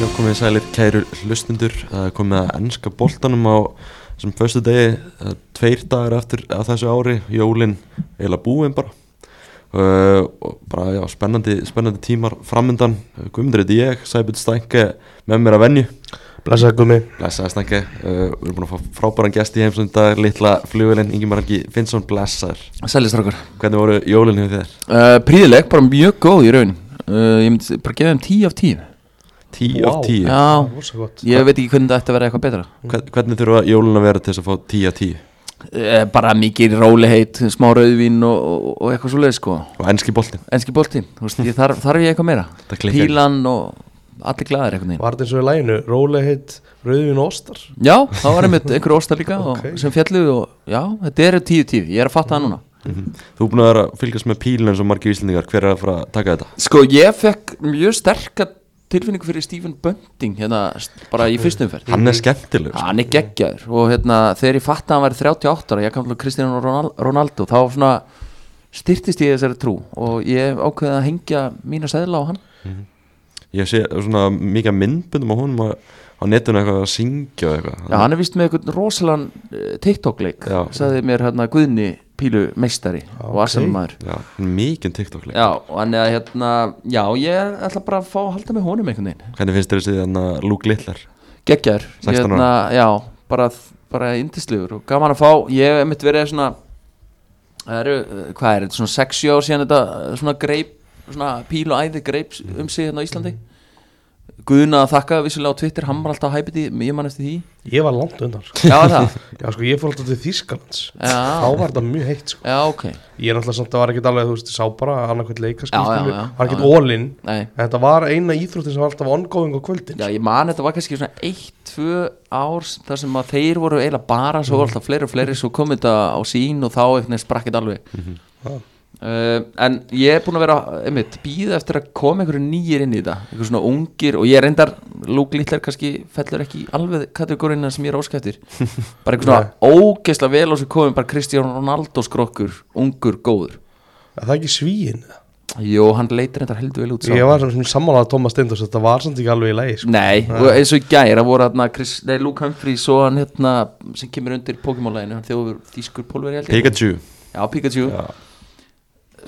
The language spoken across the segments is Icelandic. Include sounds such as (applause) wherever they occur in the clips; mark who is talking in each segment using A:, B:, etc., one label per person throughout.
A: Já, komið sælir kæru hlustundur Það er komið að ennska boltanum á þessum föstu degi, tveir dagar eftir að þessu ári, jólin eila búin bara uh, og bara já, spennandi, spennandi tímar framundan, Uh, Guðmundur heiti ég Sæbjörn Stænke með mér að venju
B: Blessaði gummi
A: Blessaði Stænke, uh, við erum búin að fá frábæran gest í heimsum í dag, litla flugvelin Ingemar Helgi Finnsson, blessaður
C: Sælistrakkar
A: Hvernig voru jólin hjá þér?
C: uh, Príðileg, bara mjög góð í raun uh, Ég myndi bara gefa þeim 10 af 10
A: Tíu af
B: Vá.
A: tíu
C: Já,
B: Rósa gott
C: ég veit ekki hvernig þetta ætti að vera eitthvað betra
A: Hvern- Hvernig þurfa jólin að vera til þess að fá tíu af tíu?
C: uh, Bara mikið róliheit, smá rauðvín og, og, og eitthvað svo leið sko
A: Og ennski boltin,
C: Enski boltinn, þú veist, ég þarf, þarf ég eitthvað meira
A: Það klikkar.
C: Pílan og allir glæðir einhvern veginn
B: Var þetta eins og í læginu Rólegheit Rauðvin og Ostar
C: Já, þá var einmitt einhver ósta líka
B: Ok.
C: og, sem fjalluð og já, þetta eru 10-10, ég er að fatta það núna
A: Þú er búin að vera að fylgjast með pílun eins og margir íslendingar, hver er að fara að taka þetta?
C: Sko, ég fekk mjög sterka tilfinningu fyrir Stephen Bunting hérna st- bara í fyrstum ferð
A: Hann er skemmtilegur sko.
C: hann er geggjaður og hérna, þegar ég fatt að hann væri 38 ára, ég kam til Kristján Ronaldo þá svona styrtist ég þessari trú og ég ákveði að hengja mína seðla á hann
A: Ég sé svona mikið af myndbundum á honum að- á netinu eitthvað að syngja og eitthvað
C: Já, hann er vist með einhvern rosalan eh, TikTok-leik
A: Mhm. Já.
C: sagði mér hérna Guðni Pílu meistari og
B: ok.
C: Arsenalmaður
A: Já, hann er mikið um TikTok leik
C: Já, og hann er hérna, já, ég ætla bara að fá að halda með honum einhvern veginn
A: Hvernig finnst þér þessi þannig að Luke Littler?
C: geggjar
A: 16 ára.
C: Hérna, já, bara, bara yndislegur og gaman að fá, ég hef mitt verið svona það eru, eh, hvað er þetta, svona 60 ár síðan þetta eh, svona greip, svona píl og æði greip s- um sig hérna á Íslandi Guðuna að þakka vissulega á Twitter, hann var alltaf hæpiti, ég man eftir því
B: Ég var langt undan sko.
C: Já, það,
B: Já sko ég fór alltaf til Þýskalands Þá
C: já,
B: var þetta mjög heitt sko
C: já, ok
B: Ég er náttúrulega samt að það var ekkert alveg Þú veist ég sá bara annarkvæmt leika
C: Já, já,
B: skilur
C: já,
B: Var ekkert
C: já, já.
B: ólinn
C: Nei,
B: En þetta var eina íþróttin sem var alltaf ongoing á kvöldin sko.
C: já, ég man þetta var kannski svona 1-2 ár þar sem að þeir voru eiginlega bara svo voru alltaf fleiri og fleiri, svo kom þetta á sín og þá eitthvað sprakkið alveg
B: Já.
C: Uh, en ég er búinn að vera einmitt, býða eftir að koma einhverju nýjir inn í þetta einhverju svona ungir og ég reyndar Luke Littler kannski fellur ekki í alveg kategóriðina sem ég
B: (laughs)
C: er óskættir bara einhver svona ógeðslega vel á sig komin bara Kristján Ronaldo skrokkur ungur, góður
B: En Það er ekki svíin
C: Jó, hann leitir reyndar heldur vel út sko. sá.
B: Ég var svona sammálaða Tómas Steindors Þetta var samt ekki alveg í lægi sko
C: Nei, og eins og í gæra voru hérna Chris, nei, Luke Humphrey svo hann hérna sem kemur undir Pokémon-læginu hann þjóður þýskur pólveri held ég
A: Pikachu
C: Já, Pikachu
A: Já.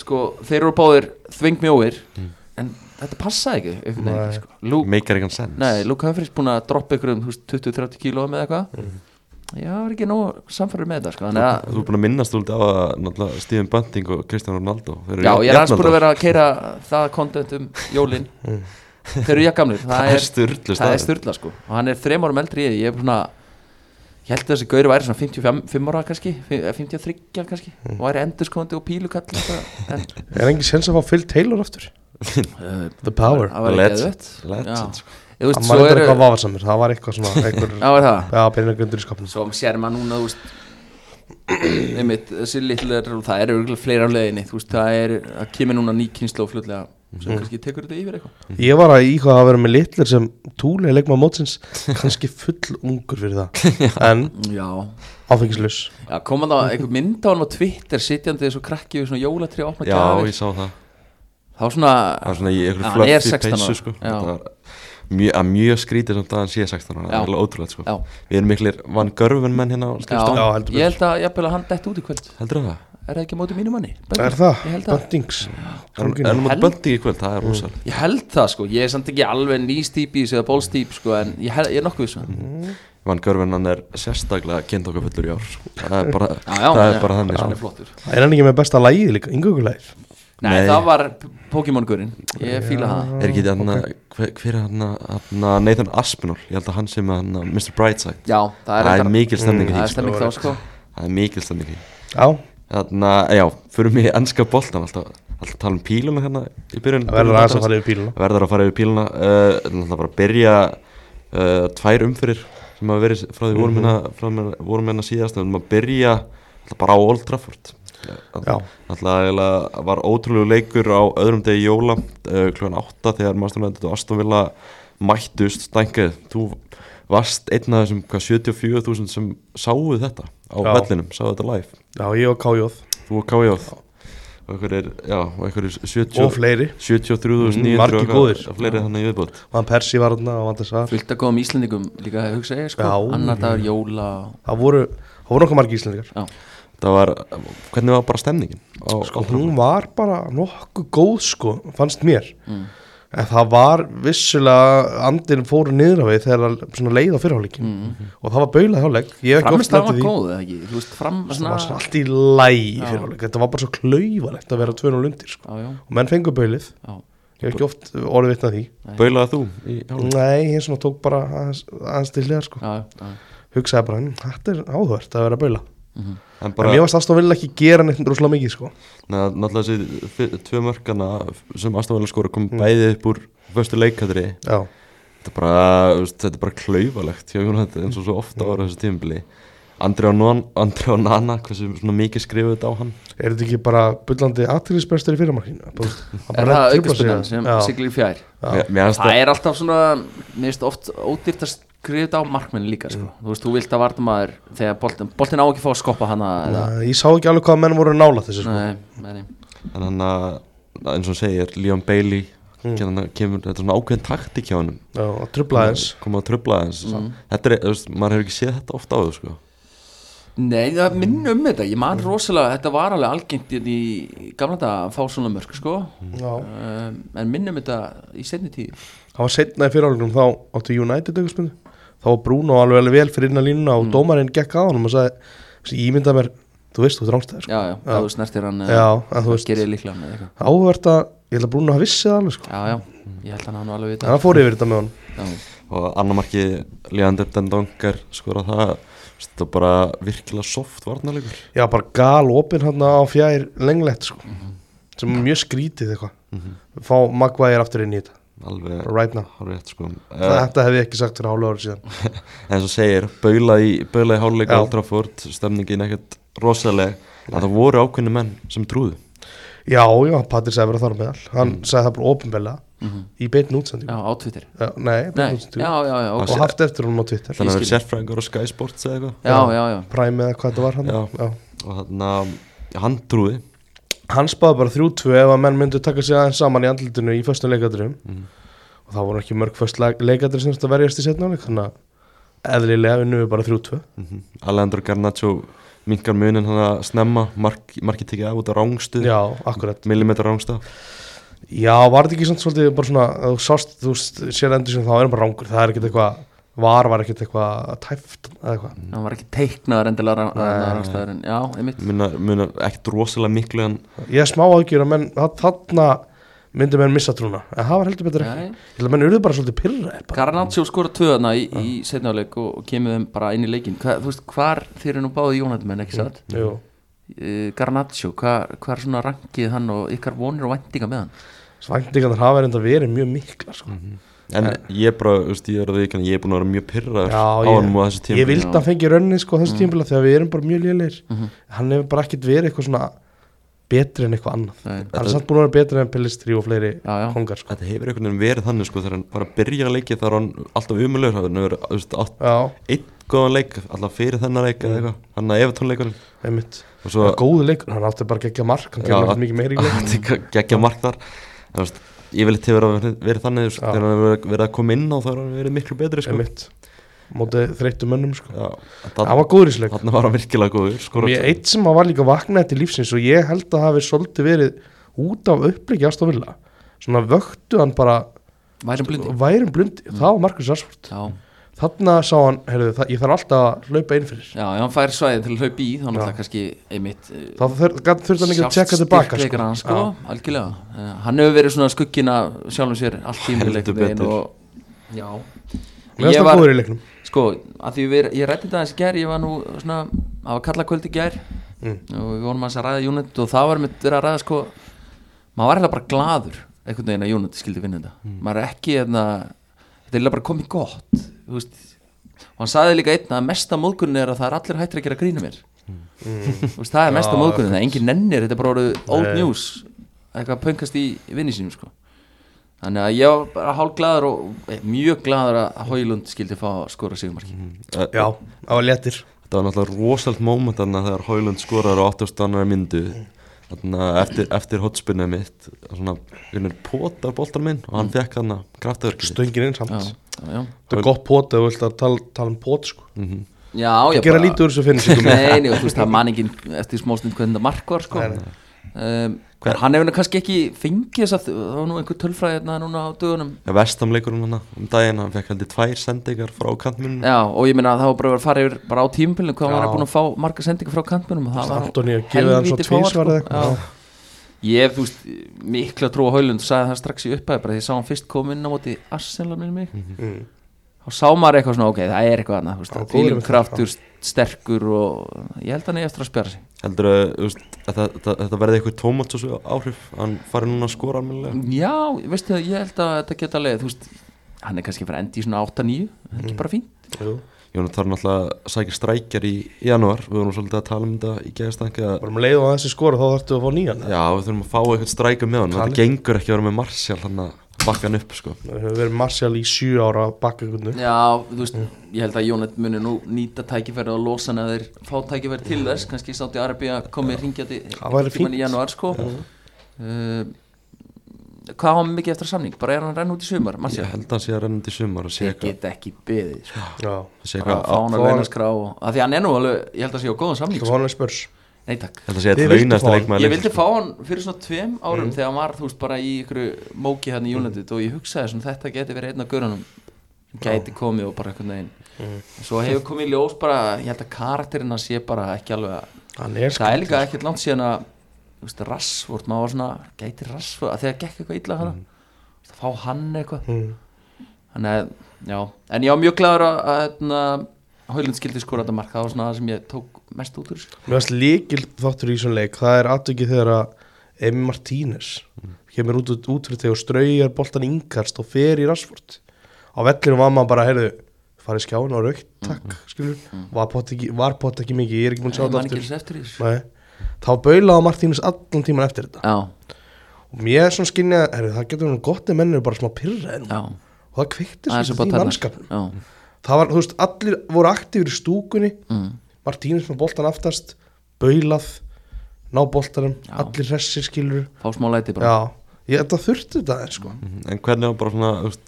C: Sko, þeir eru báðir þvingmjóir
A: Mm.
C: En þetta passaði ekki einhvern veginn,
B: Nei.
C: sko. Luke,
A: Maker eitthvað sens
C: nei, Luke Humphreys búin að droppa ykkur um þú veist, 20-30 kíló með eitthvað
A: Mm.
C: Já, var ekki nóg samfæður með þetta sko. Þannig að,
A: Þú er búin að minnast þú á að náttúrulega Stephen Bunting og Kristján Ronaldo Þeir eru
C: já, ég er aðeins búin að
A: jafnaldrar.
C: vera að keira það content um jólin Þeir eru
A: (laughs)
C: jakkamlir
A: Mm. Það er sturlu
C: Það er styrla sko og hann er þrem árum eldri en ég, ég er svona ég held að þessi gauri væri svona 55 ára kannski fi- eh, 53 kannski
A: Mm.
C: og væri endurskóðandi og pílukall eitthvað, en
B: Er engin sens að fá Phil Taylor
A: (laughs)
B: aftur
C: uh,
B: The Power
C: það var
A: Legend.
C: ekki eðvett
A: Legend, sko.
C: Þú veist,
B: Hann
C: svo
B: var eitthvað
C: eru
B: eitthvað vafarsamur Það var eitthvað
C: (laughs)
B: svona einhver-
C: Já, er það
B: Já, peningar undir í skapnum
C: Svo sér maður núna, þú veist (clears throat) einmitt, þessi litlar og það eru örugglega fleira á leiðinni þú veist, það er það kemur núna ný kynslu og fljótlega sem
A: Mhm.
C: kannski tekur þetta yfir eitthvað
B: Ég var að íhuga að vera með litlir sem túli leikma (laughs) mótsins kannski full ungur fyrir (laughs) það en
C: Já,
B: áfengislaus
C: Já koma þá einhver mynd á hann á Twitter sitjandi þessu krakki við svona jólatri og opna
A: Já,
C: gjafir.
A: ég sá það
C: þá svona
A: Það var svona í
C: Já,
A: einhverju
C: hann er
A: fluffy
C: 16 ára.
A: peysu sko
C: Já.
A: Þetta var mjög, að mjög skrítið samt að hann sé 16 ára, það
C: Já.
A: er alveg ótrúlega sko
C: Já.
A: Við erum miklir Van Görven menn hérna á skrifstofunni.
B: Já, heldur
C: ég held að jafnvel að hann dætt út í kvöld
A: Heldur það?
C: er það ekki á móti mínu manni? Böndin?
B: Er það?
C: Ég held það,
B: Böndings
A: En
B: hérna.
A: hann
C: Hel-
A: mátt böndi í kvöld, það er rosalega
C: ég held það sko, ég er samt ekki alveg nýstýpis eða bólstýp sko, en ég, hel, ég er nokkuð um vissum
A: Van Görven hann er sérstaklega kynnt okkur fullur í ár sko. Það er bara,
C: Já, já,
A: það er
C: já,
A: bara þannig
C: hann
A: sko
C: er flottur
B: Er hann ekki með besta lægið líka? Yngökulægir
C: Nei,
A: Nei.
C: það var P- Pokémon-gurinn Ég fíla það
A: Er ekki hann, okay. hver, hver er hann, hann Nathan Aspinall, ég held að hann sem hann Mr. Brightside
C: Já, það er,
A: Það er
C: reyndar-
A: mikil stemning í
C: Það
A: því
C: er
A: sko.
C: stemming þá sko
A: Það er mikil stemning í því
B: Já,
A: Þannig að, já, fyrir mig ennska boltan alltaf, alltaf tala um píluna hérna í byrjun
B: það verður aðeins að fara yfir píluna
A: verðar að fara yfir píluna uh, Það bara að byrja uh, tvær umfyrir sem hafa verið frá því
B: Mhm.
A: vorum hérna, frá því vorum hérna síðast en maður byrja ætla, bara á Old Trafford
B: Já.
A: Það var ótrúlegu leikur á öðrum degi jóla uh, klukkan 8 þegar Mastunættið og Aston Villa mættust stænkið Þú varst einn af þessum hvað, 74.000 sem sáu þetta á
B: Já.
A: vellinum, sáu þetta live
B: Já, ég og Kájóð
A: Þú og Kájóð og einhverjir, já, og einhverjir
B: og
A: 70
B: fleiri
A: 73.900
B: Mm, margir
A: og eitthvað-
B: góðir.
A: og fleiri þannig í viðbót
B: Van Persi var hann og Van Dessar
C: fullt að góðum Íslendingum líka að hugsa ég sko,
B: Já.
C: annar dagur jóla
B: það voru, það voru okkar margir íslendingar
A: það var, hvernig var bara stemningin á,
B: sko,
A: á-
B: hún var bara nokkuð góð sko, fannst mér
C: Mm.
B: en það var vissulega andin fóru niður af við þegar að svona leið á fyrirháleikin og það var baulað háleik ég hef ekki oft
C: framist það
B: lendið
C: Mm. var
B: í
C: góð eða ekki, þú veist fram
B: það
C: svona,
B: var svona allt í læg
C: Já.
B: fyrirháleik þetta var bara svo klauvalegt að vera 2-0 undir sko.
C: já, já,
B: og menn fengu baulið,
C: já,
B: ég hef ekki oft orðið vitna því
A: baulaði þú í hálfleik?
B: nei, ég svona tók bara aðeins, aðeins til hliðar sko.
C: já, já,
B: hugsaði bara, "Hm, þetta er áhvert að vera baula
C: mhm.
A: en
B: en mér
A: bara,
B: varst aðstofan vilja ekki gera neitt rosalega mikið sko.
A: neða, náttúrulega þessi fi- tvö mörkana sem aðstofanlega skora kom
B: Mm.
A: bæði upp úr fyrstu leikadri
B: já,
A: þetta er bara, þú veist, þetta er bara klaufalegt hjá Jónhætti eins og svo
B: Mm.
A: ofta ára þessu tímabili Andri og, non, Andri og Nana hversu svona mikið skrifuðu þetta á hann
B: er þetta ekki bara bullandi aðtýrisbærstur í fyrirmarkinu Bara,
C: (laughs)
B: þú veist,
C: er
B: bara
C: það
B: truflar sig
C: aukarspennan
B: að-
C: sem
B: já,
C: siglir í fjær
A: Mér- mér fannst
C: það er alltaf svona mér finnst oft ódýrt að skrifa þetta á markmenn líka sko. þú veist, þú vilt að varna maður þegar boltin, boltin á ekki að fá að skoppa hana eða,
B: Nei, ég sá ekki alveg hvað menn voru nála þessu sko.
C: nei, nei, nei.
A: en hann að, eins og hann segir, Leon Bailey mm. kemur, þetta er svona ákveðin taktik hjá hann
B: já, að trubla eins
A: koma að tröfla
B: Mhm.
A: þess mm. þetta er, þú veist, maður hefur ekki séð þetta ofta á þau sko.
C: nei, það minn um þetta ég man rosalega, þetta var alveg algengt hérna í gamla dag að fá svona mörg sko.
B: það
C: um, en minn um þetta í setni tíð
B: var setna í fyrirháleikum þá áttu United aukarspunni þá var Bruno alveg alveg vel fyrir innan línuna
C: Mm.
B: og dómarinn gekk að honum og sagði þessi ímynda mér, þú veist þú drángstæðir sko.
C: já, já,
B: Já.
C: já. þú snertir hann
B: já, en þú veist,
C: gerir líklega með eitthvað
B: áhvert að ég held að Bruno hafi vissið það alveg sko.
C: já, já, ég held að hann hafi nú alveg
B: en
C: vita
B: hann fór yfir þetta með honum
C: já.
A: og annamarki Leander Dendong er skora það þú veist, þetta er bara virkilega soft varnarleikur
B: já, bara gal opinn hann á fjær lenglegt sko.
C: Mhm.
B: sem er mjög skrítið eitthvað fá Maguire aftur inn í þetta
A: alveg
B: right now
A: hárið sko. uh,
B: Þetta hef ég ekki sagt fyrir hálfu ári síðan
A: eins og segir, baula í, baula í háluleik
B: Já.
A: Old Trafford, stemningin ekkert rosaleg, en það voru ákveðni menn sem trúðu
B: Já, já, Patrik sagði bara þar á meðal Hann sagði það bara ofinbella Í beitin útsendingu
C: Mm. Mhm. já, á Twitter
B: Já, Nei,
C: nei,
B: beitin
C: já,
B: útsendingu
C: já, já,
B: Og
C: ok.
B: haft eftir honum á Twitter
A: þannig að það
C: skil.
A: er sérfræðingar á Sky Sports eða eitthvað
C: já, já, já
B: Prime eða hvað þetta var hann
A: Já. og þannig að hann trúði
B: Hann spáði bara 3-2 ef að menn myndu taka sig aðeins saman í andlutinu Í föstum leikadrunum Og það voru ekki mörg föst leikadrun sem þetta verjast í setna áleik Þannig að eðlilega vinnum við bara 3-2
A: Mhm. Alejandro Garnacho minkar munin hann að snemma mark, markið tekið af út á rángstu
B: Já, akkurat
A: millimetra rángsta
B: Já, var þetta ekki samt svolítið bara svona ef Þú sást, þú s- sér endur sem þá erum bara rangur Það er ekkert eitthvað Var var ekkert eitthvað tæft eða eitthvað
C: hann var ekki teiknaður endilega rannstæðurinn já, einmitt
A: munar, munar ekkert rosalega miklu en
B: Ég er smá ágjur að menn þa- þarna myndu menn missa trúna en það var heldur betur ekki
C: Nei.
B: Ég held að menn urðu bara svolítið pyrraðir bara.
C: Garnaccio skora tvöðana í, í setnáleik og, og kemur þeim bara inn í leikin Hva, þú veist, hvar þeir eru nú báði Jónatumenn, ekki satt?
B: Jú.
C: Mm. Garnaccio, hvar, hvar svona rangið hann og ykkar vonir og vendinga með hann?
B: Svæntingarnar hafa reynda verið mjög mikla sko.
A: en ég bara, þú veist, ég er að veikana ég er búin að vera mjög pyrraður
B: Já,
A: á
B: ég-
A: hann og þessu tíma
B: Ég vildi að hann fengi rönni sko,
C: Mhm.
B: þessu mm. tímpila þegar við erum bara mjög lélir Hann hefur bara ekkert verið eitthvað svona betri en eitthvað annað
C: Nei.
B: Hann er samt búin að vera betri en Pellistri og fleiri
C: Já, já.
B: kongar sko.
A: þetta hefur einhvern veginn verið þannig sko þegar hann bara byrjar að leikja þar hann alltaf umulögur hann hefur, þú veist, átt
B: Já,
A: einn góðan leik alltaf fyrir þennan leik eða eitthvað hann að Evertónleikunum
B: einmitt
A: og
B: Mm. Það
A: svo
B: er góðu leikur, hann átti bara geggja mark Hann gerði ekkert mikið meiri
A: (laughs)
B: í leik
A: leik geggja mark þar En, þú veist, ég vil til vera verið þannig þú veist,
B: Já.
A: þegar hann hefur verið- verið að koma inn á þá er hann verið miklu betri sko
B: Einmitt, mótið þreyttu mönnum sko.
A: Já,
B: Hann
A: þarna-
B: var góður í sleik
A: Þannig var hann virkilega góður skora
B: Mér eitt sem að var líka vaknaði til lífsins og ég held að það hafi svolítið verið út af uppleiki ástofilla svona vöktu hann bara
C: Værum blindi?
B: værum blundi,
C: Mhm.
B: það var Markus Arsford
C: Já,
B: þarna sá hann, heyrðu, það, ég þarf alltaf að hlaupa inn fyrir,
C: já, já, hann fær svæðið til að hlaupa í þá náttúrulega
B: Já.
C: kannski einmitt eh,
B: þá þur- gat- þurfti hann ekki að
C: sjást
B: tjekka tilbaka
C: styrkleikar hans, sko, algjörlega Eh, hann hefur verið svona skuggina sjálfum sér allt tímul
A: Heldur betur.
C: og já
B: Mér finnst
C: Ég
B: það
C: var-
B: góður í leiknum
C: Sko, að því við, ég rætti þetta aðeins í gær, ég var nú svona, það var kalla kvöld í gær
B: Mm.
C: og við vorum aðeins að ræða Júnit og það var mitt verið að ræða sko, maður var eitthvað bara gladur einhvern veginn að Júnit skildi vinna þetta,
B: Mm.
C: maður er ekki, eðna, þetta er eiginlega bara komið gott, þú veist, og hann sagði líka einn að mesta móðgunin er að það er allir hættir að gera grína mér,
B: Mm.
C: þú veist, það er mesta
B: Já,
C: móðgunin, það er engin nennir, þetta er bara orðið old
B: Nei.
C: news, eitthvað að pöngast í vinni sínum sko. Þannig að ég var bara hálf gladur og eh, mjög gladur að Hóilund skildi fá að skora sigumarki.
B: Mm.
A: Þetta
B: Já, það var léttir
A: var náttúrulega rosalt moment þannig að þegar Haulund skorar á 82. myndu þarna, eftir, eftir hotspinnið mitt svona, einhvern potar boltan minn og hann fekk þarna kraftaverkið sitt.
B: stöngin inn samt
C: já, já,
B: þetta er gott pot ef þú vilt að tala, tala um pot sko.
C: já, já
B: gera lítið úr þessu sko. finningum
C: Mm. Nei, nei, og þú veist, það man ekki eftir smásnind hvernig það mark var sko. um, Hann hefur nú kannski ekki fengið þess að það var nú einhver tölfræði hérna núna á dögunum
A: Ég vestamleikurinn hann um daginn, hann fekk heldur tvær sendingar frá
B: Mm.
A: kantmunum
C: Já, og ég meina að það var bara að fara yfir bara á tímpilinu hvað hann var búin að fá marga sendingar frá kantmönum og það var
B: Antonio gefið hann svo
C: helvíti fáar,
B: tvísvar eða
C: Já.
B: eitthvað
C: Ég hef, þú veist, mikla trú á Haulund sagði það strax í upphæði, bara því ég sá hann fyrst koma inn á móti Arsenal minn mig
B: (laughs) Mm.
C: þá sá maður eitthvað svona, ok, það er eitthvað annað þú veist,
B: Já,
C: það
B: góður
C: fílum
B: með það,
C: kraftur, sterkur og ég held að hann eigi eftir að spjara sig
A: Heldur að, þú veist, að það- þetta- þetta verði eitthvað tómat áhrif hann fari núna að skora almennilega
C: Já, veistu það, ég held að þetta geta leið þú veist, hann er kannski fyrir endi í svona 8-9 það
A: Mm.
C: er ekki bara fín
B: Jú,
A: Jónu þarf náttúrulega að sækja strækjar í janúar Við vorum svolítið að tala um þetta í gæðastangi að
B: bara um leið og þessi skora þá þarftu að fá nýjan
A: Já, við þurfum að fá eitthvað strækja með hann
B: Kalli.
A: Þetta gengur ekki að vera með Martial hann að bakka hann upp sko.
B: það hefur verið Marcial í 7 ára bakkakundu
C: Já, þú veist,
A: Mm.
C: ég held að Jónet muni nú nýta tækifærið og losa hann að þeir fá tækifærið
A: Mm.
C: til þess, kannski sátti Arabi að komi ringjandi
B: Það væri
C: í
B: fínt.
C: januar sko
A: Mm.
C: uh, Hvað á hann mikið eftir að samning? Bara er hann renn út í sumar? Marcia,
A: Ég held að hann sé að renna til sumar að sé
C: þeir
A: eitthvað
C: geta ekki beðið sko.
B: Já,
A: sé
C: Bara
A: eitthvað
C: fá hann að
B: fá hann-
C: launaskrá og, að því hann er nú alveg, ég held að sé á góðan
B: það
C: samning
B: var
C: sko.
B: hann að spörs
C: Nei takk
A: Þetta sé
B: Þið
A: eitthvað
B: vildu fá
A: launasta
B: hann.
A: leikmaður
C: Ég vildi
A: leiksins,
C: fá hann fyrir svona tveim árum
B: Mm.
C: þegar hann var, þú veist, bara í ykkur móki hérna í United og ég hugsaði svona þetta geti verið einn af görunum sem gæti komið og bara einhvern veginn
B: Mm.
C: Svo hefur komið í ljós bara, ég held að karakterinn hans sé bara ekki alveg að
B: Hann er
C: Það er líka ekkert langt síðan að þú veist, rassvort, maður var svona gæti rassvort, að þegar gekk eitthvað illa hana að fá hann eitthvað
B: Mm.
C: Þannig að, já, en ég var mjög glæður að, að, að, að Haulund skildi skora þetta mark, það var svona það sem ég tók mest út úr þessu.
B: Mér finnst líkil þáttur í svona leik það er atvikið þegar að Emi Martínez kemur út, út, út fyrir þegar og straujar boltan yngarst og fer í rasvort á vellinu var maður bara, heyrðu farið skjáin á raukt, takk, mm. skilur var pott ekki, var pott ekki mikið, ég er ekki múin að sjá
C: Ég
B: þetta
C: man ekki
B: aftur
C: þessu eftir í þessu.
B: Nei. þá baulaði Martínez allan tíman eftir þetta
C: Já,
B: og mér er svona skinnið, heyrðu, það getur hann gott ef menn eru bara smá pyrraðin
C: já,
B: og það kveiktir
C: aðeins upp
B: svolítið
C: að
B: í mannskapin
C: Já,
B: það var, þú veist, allir voru aktífur í stúkunni
C: mm.
B: Martínez með boltan aftast baulað ná boltanum,
C: Já.
B: allir hressir skilur
C: fá smá læti bara. Mm.
B: já, ég þetta þurfti þetta aðeins, sko.
A: Mhm. En hvernig var bara svona þú veist,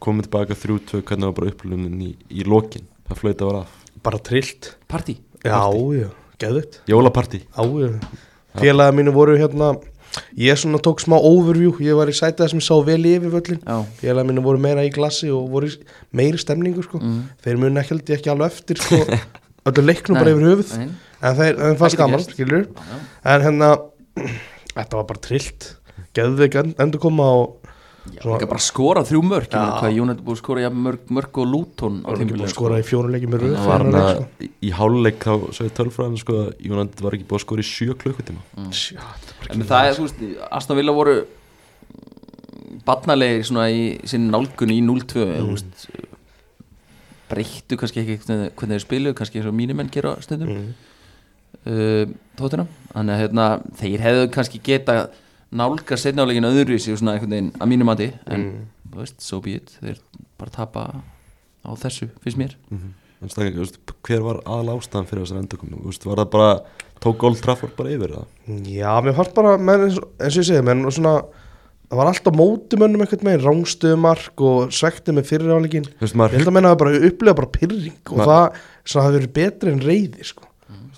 A: komið tilbaka 3-2 hvernig var bara upplunin í, í lokin það flöita var af
B: bara trillt
C: Partí.
B: já, já, geðvitt
A: Jólapartí
B: já, já, félaga mínu voru hérna ég svona tók smá overview ég var í sætið sem ég sá vel í yfirvöllin
C: Já,
B: félaga mínu voru meira í glassi og voru í meiri stemningu sko.
C: Mm.
B: þeir muni ekki held ég ekki alveg eftir
C: (laughs)
B: sko, öllu leiknum bara
C: Nei,
B: yfir höfuð
C: nei.
B: en þeir, þeir
C: Það
B: fannst
C: getur
B: gaman,
C: gerst.
B: skilur
C: já,
B: en hérna, (clears throat) þetta var bara trillt geðvik endur koma og
C: já.
B: Svo-
C: Líka bara skora þrjú mörg, ég meina
B: Já.
C: hvað Jónat búið að skora jafn mörg, mörg og Lúton á
B: Það var
C: sko.
B: ekki búin
C: tímbilinu.
B: að skora í fjóru leikjum með röð
A: Það var
B: fyrir
A: hann
B: leik, sko.
A: að í- í háluleik þá sagði tölfræðin sko að Jónand var ekki búið að skora í 7 klukkutíma
B: sko. Sjá, þetta var
C: En
B: ekki-
C: það er, þú veist, Aston Villa voru barnalegir svona í sinni nálgun í 0-2 mm. veist, breyttu kannski ekki hvernig hvernig þeir spiluðu, kannski eins og mínir menn gera stundum mm. tóttina uh, þannig að hérna, þeir hefðu kannski geta nálga setnálegin öðru sér svona einhvern veginn að mínum mati en,
B: Mm.
C: þú veist, so be it, þeir bara tapa á þessu, finnst mér
B: Mhm.
A: En stakar, þú veist, hver var aðal ástæðan fyrir þessar endurkomu Þú veist, var það bara tók Old Trafford bara yfir það
B: Já, mér fannst bara, menn, eins og- eins og ég segi, menn og svona, það var alltaf mótumönnum einhvern veginn, rángstöðumark og svekti með fyriráleikin.
A: Þú veist,
B: Ég held
A: maður,
B: að menna að bara upplega bara pyrring og
A: Ma-
B: það, svona, það hefur verið betra en reyði, sko.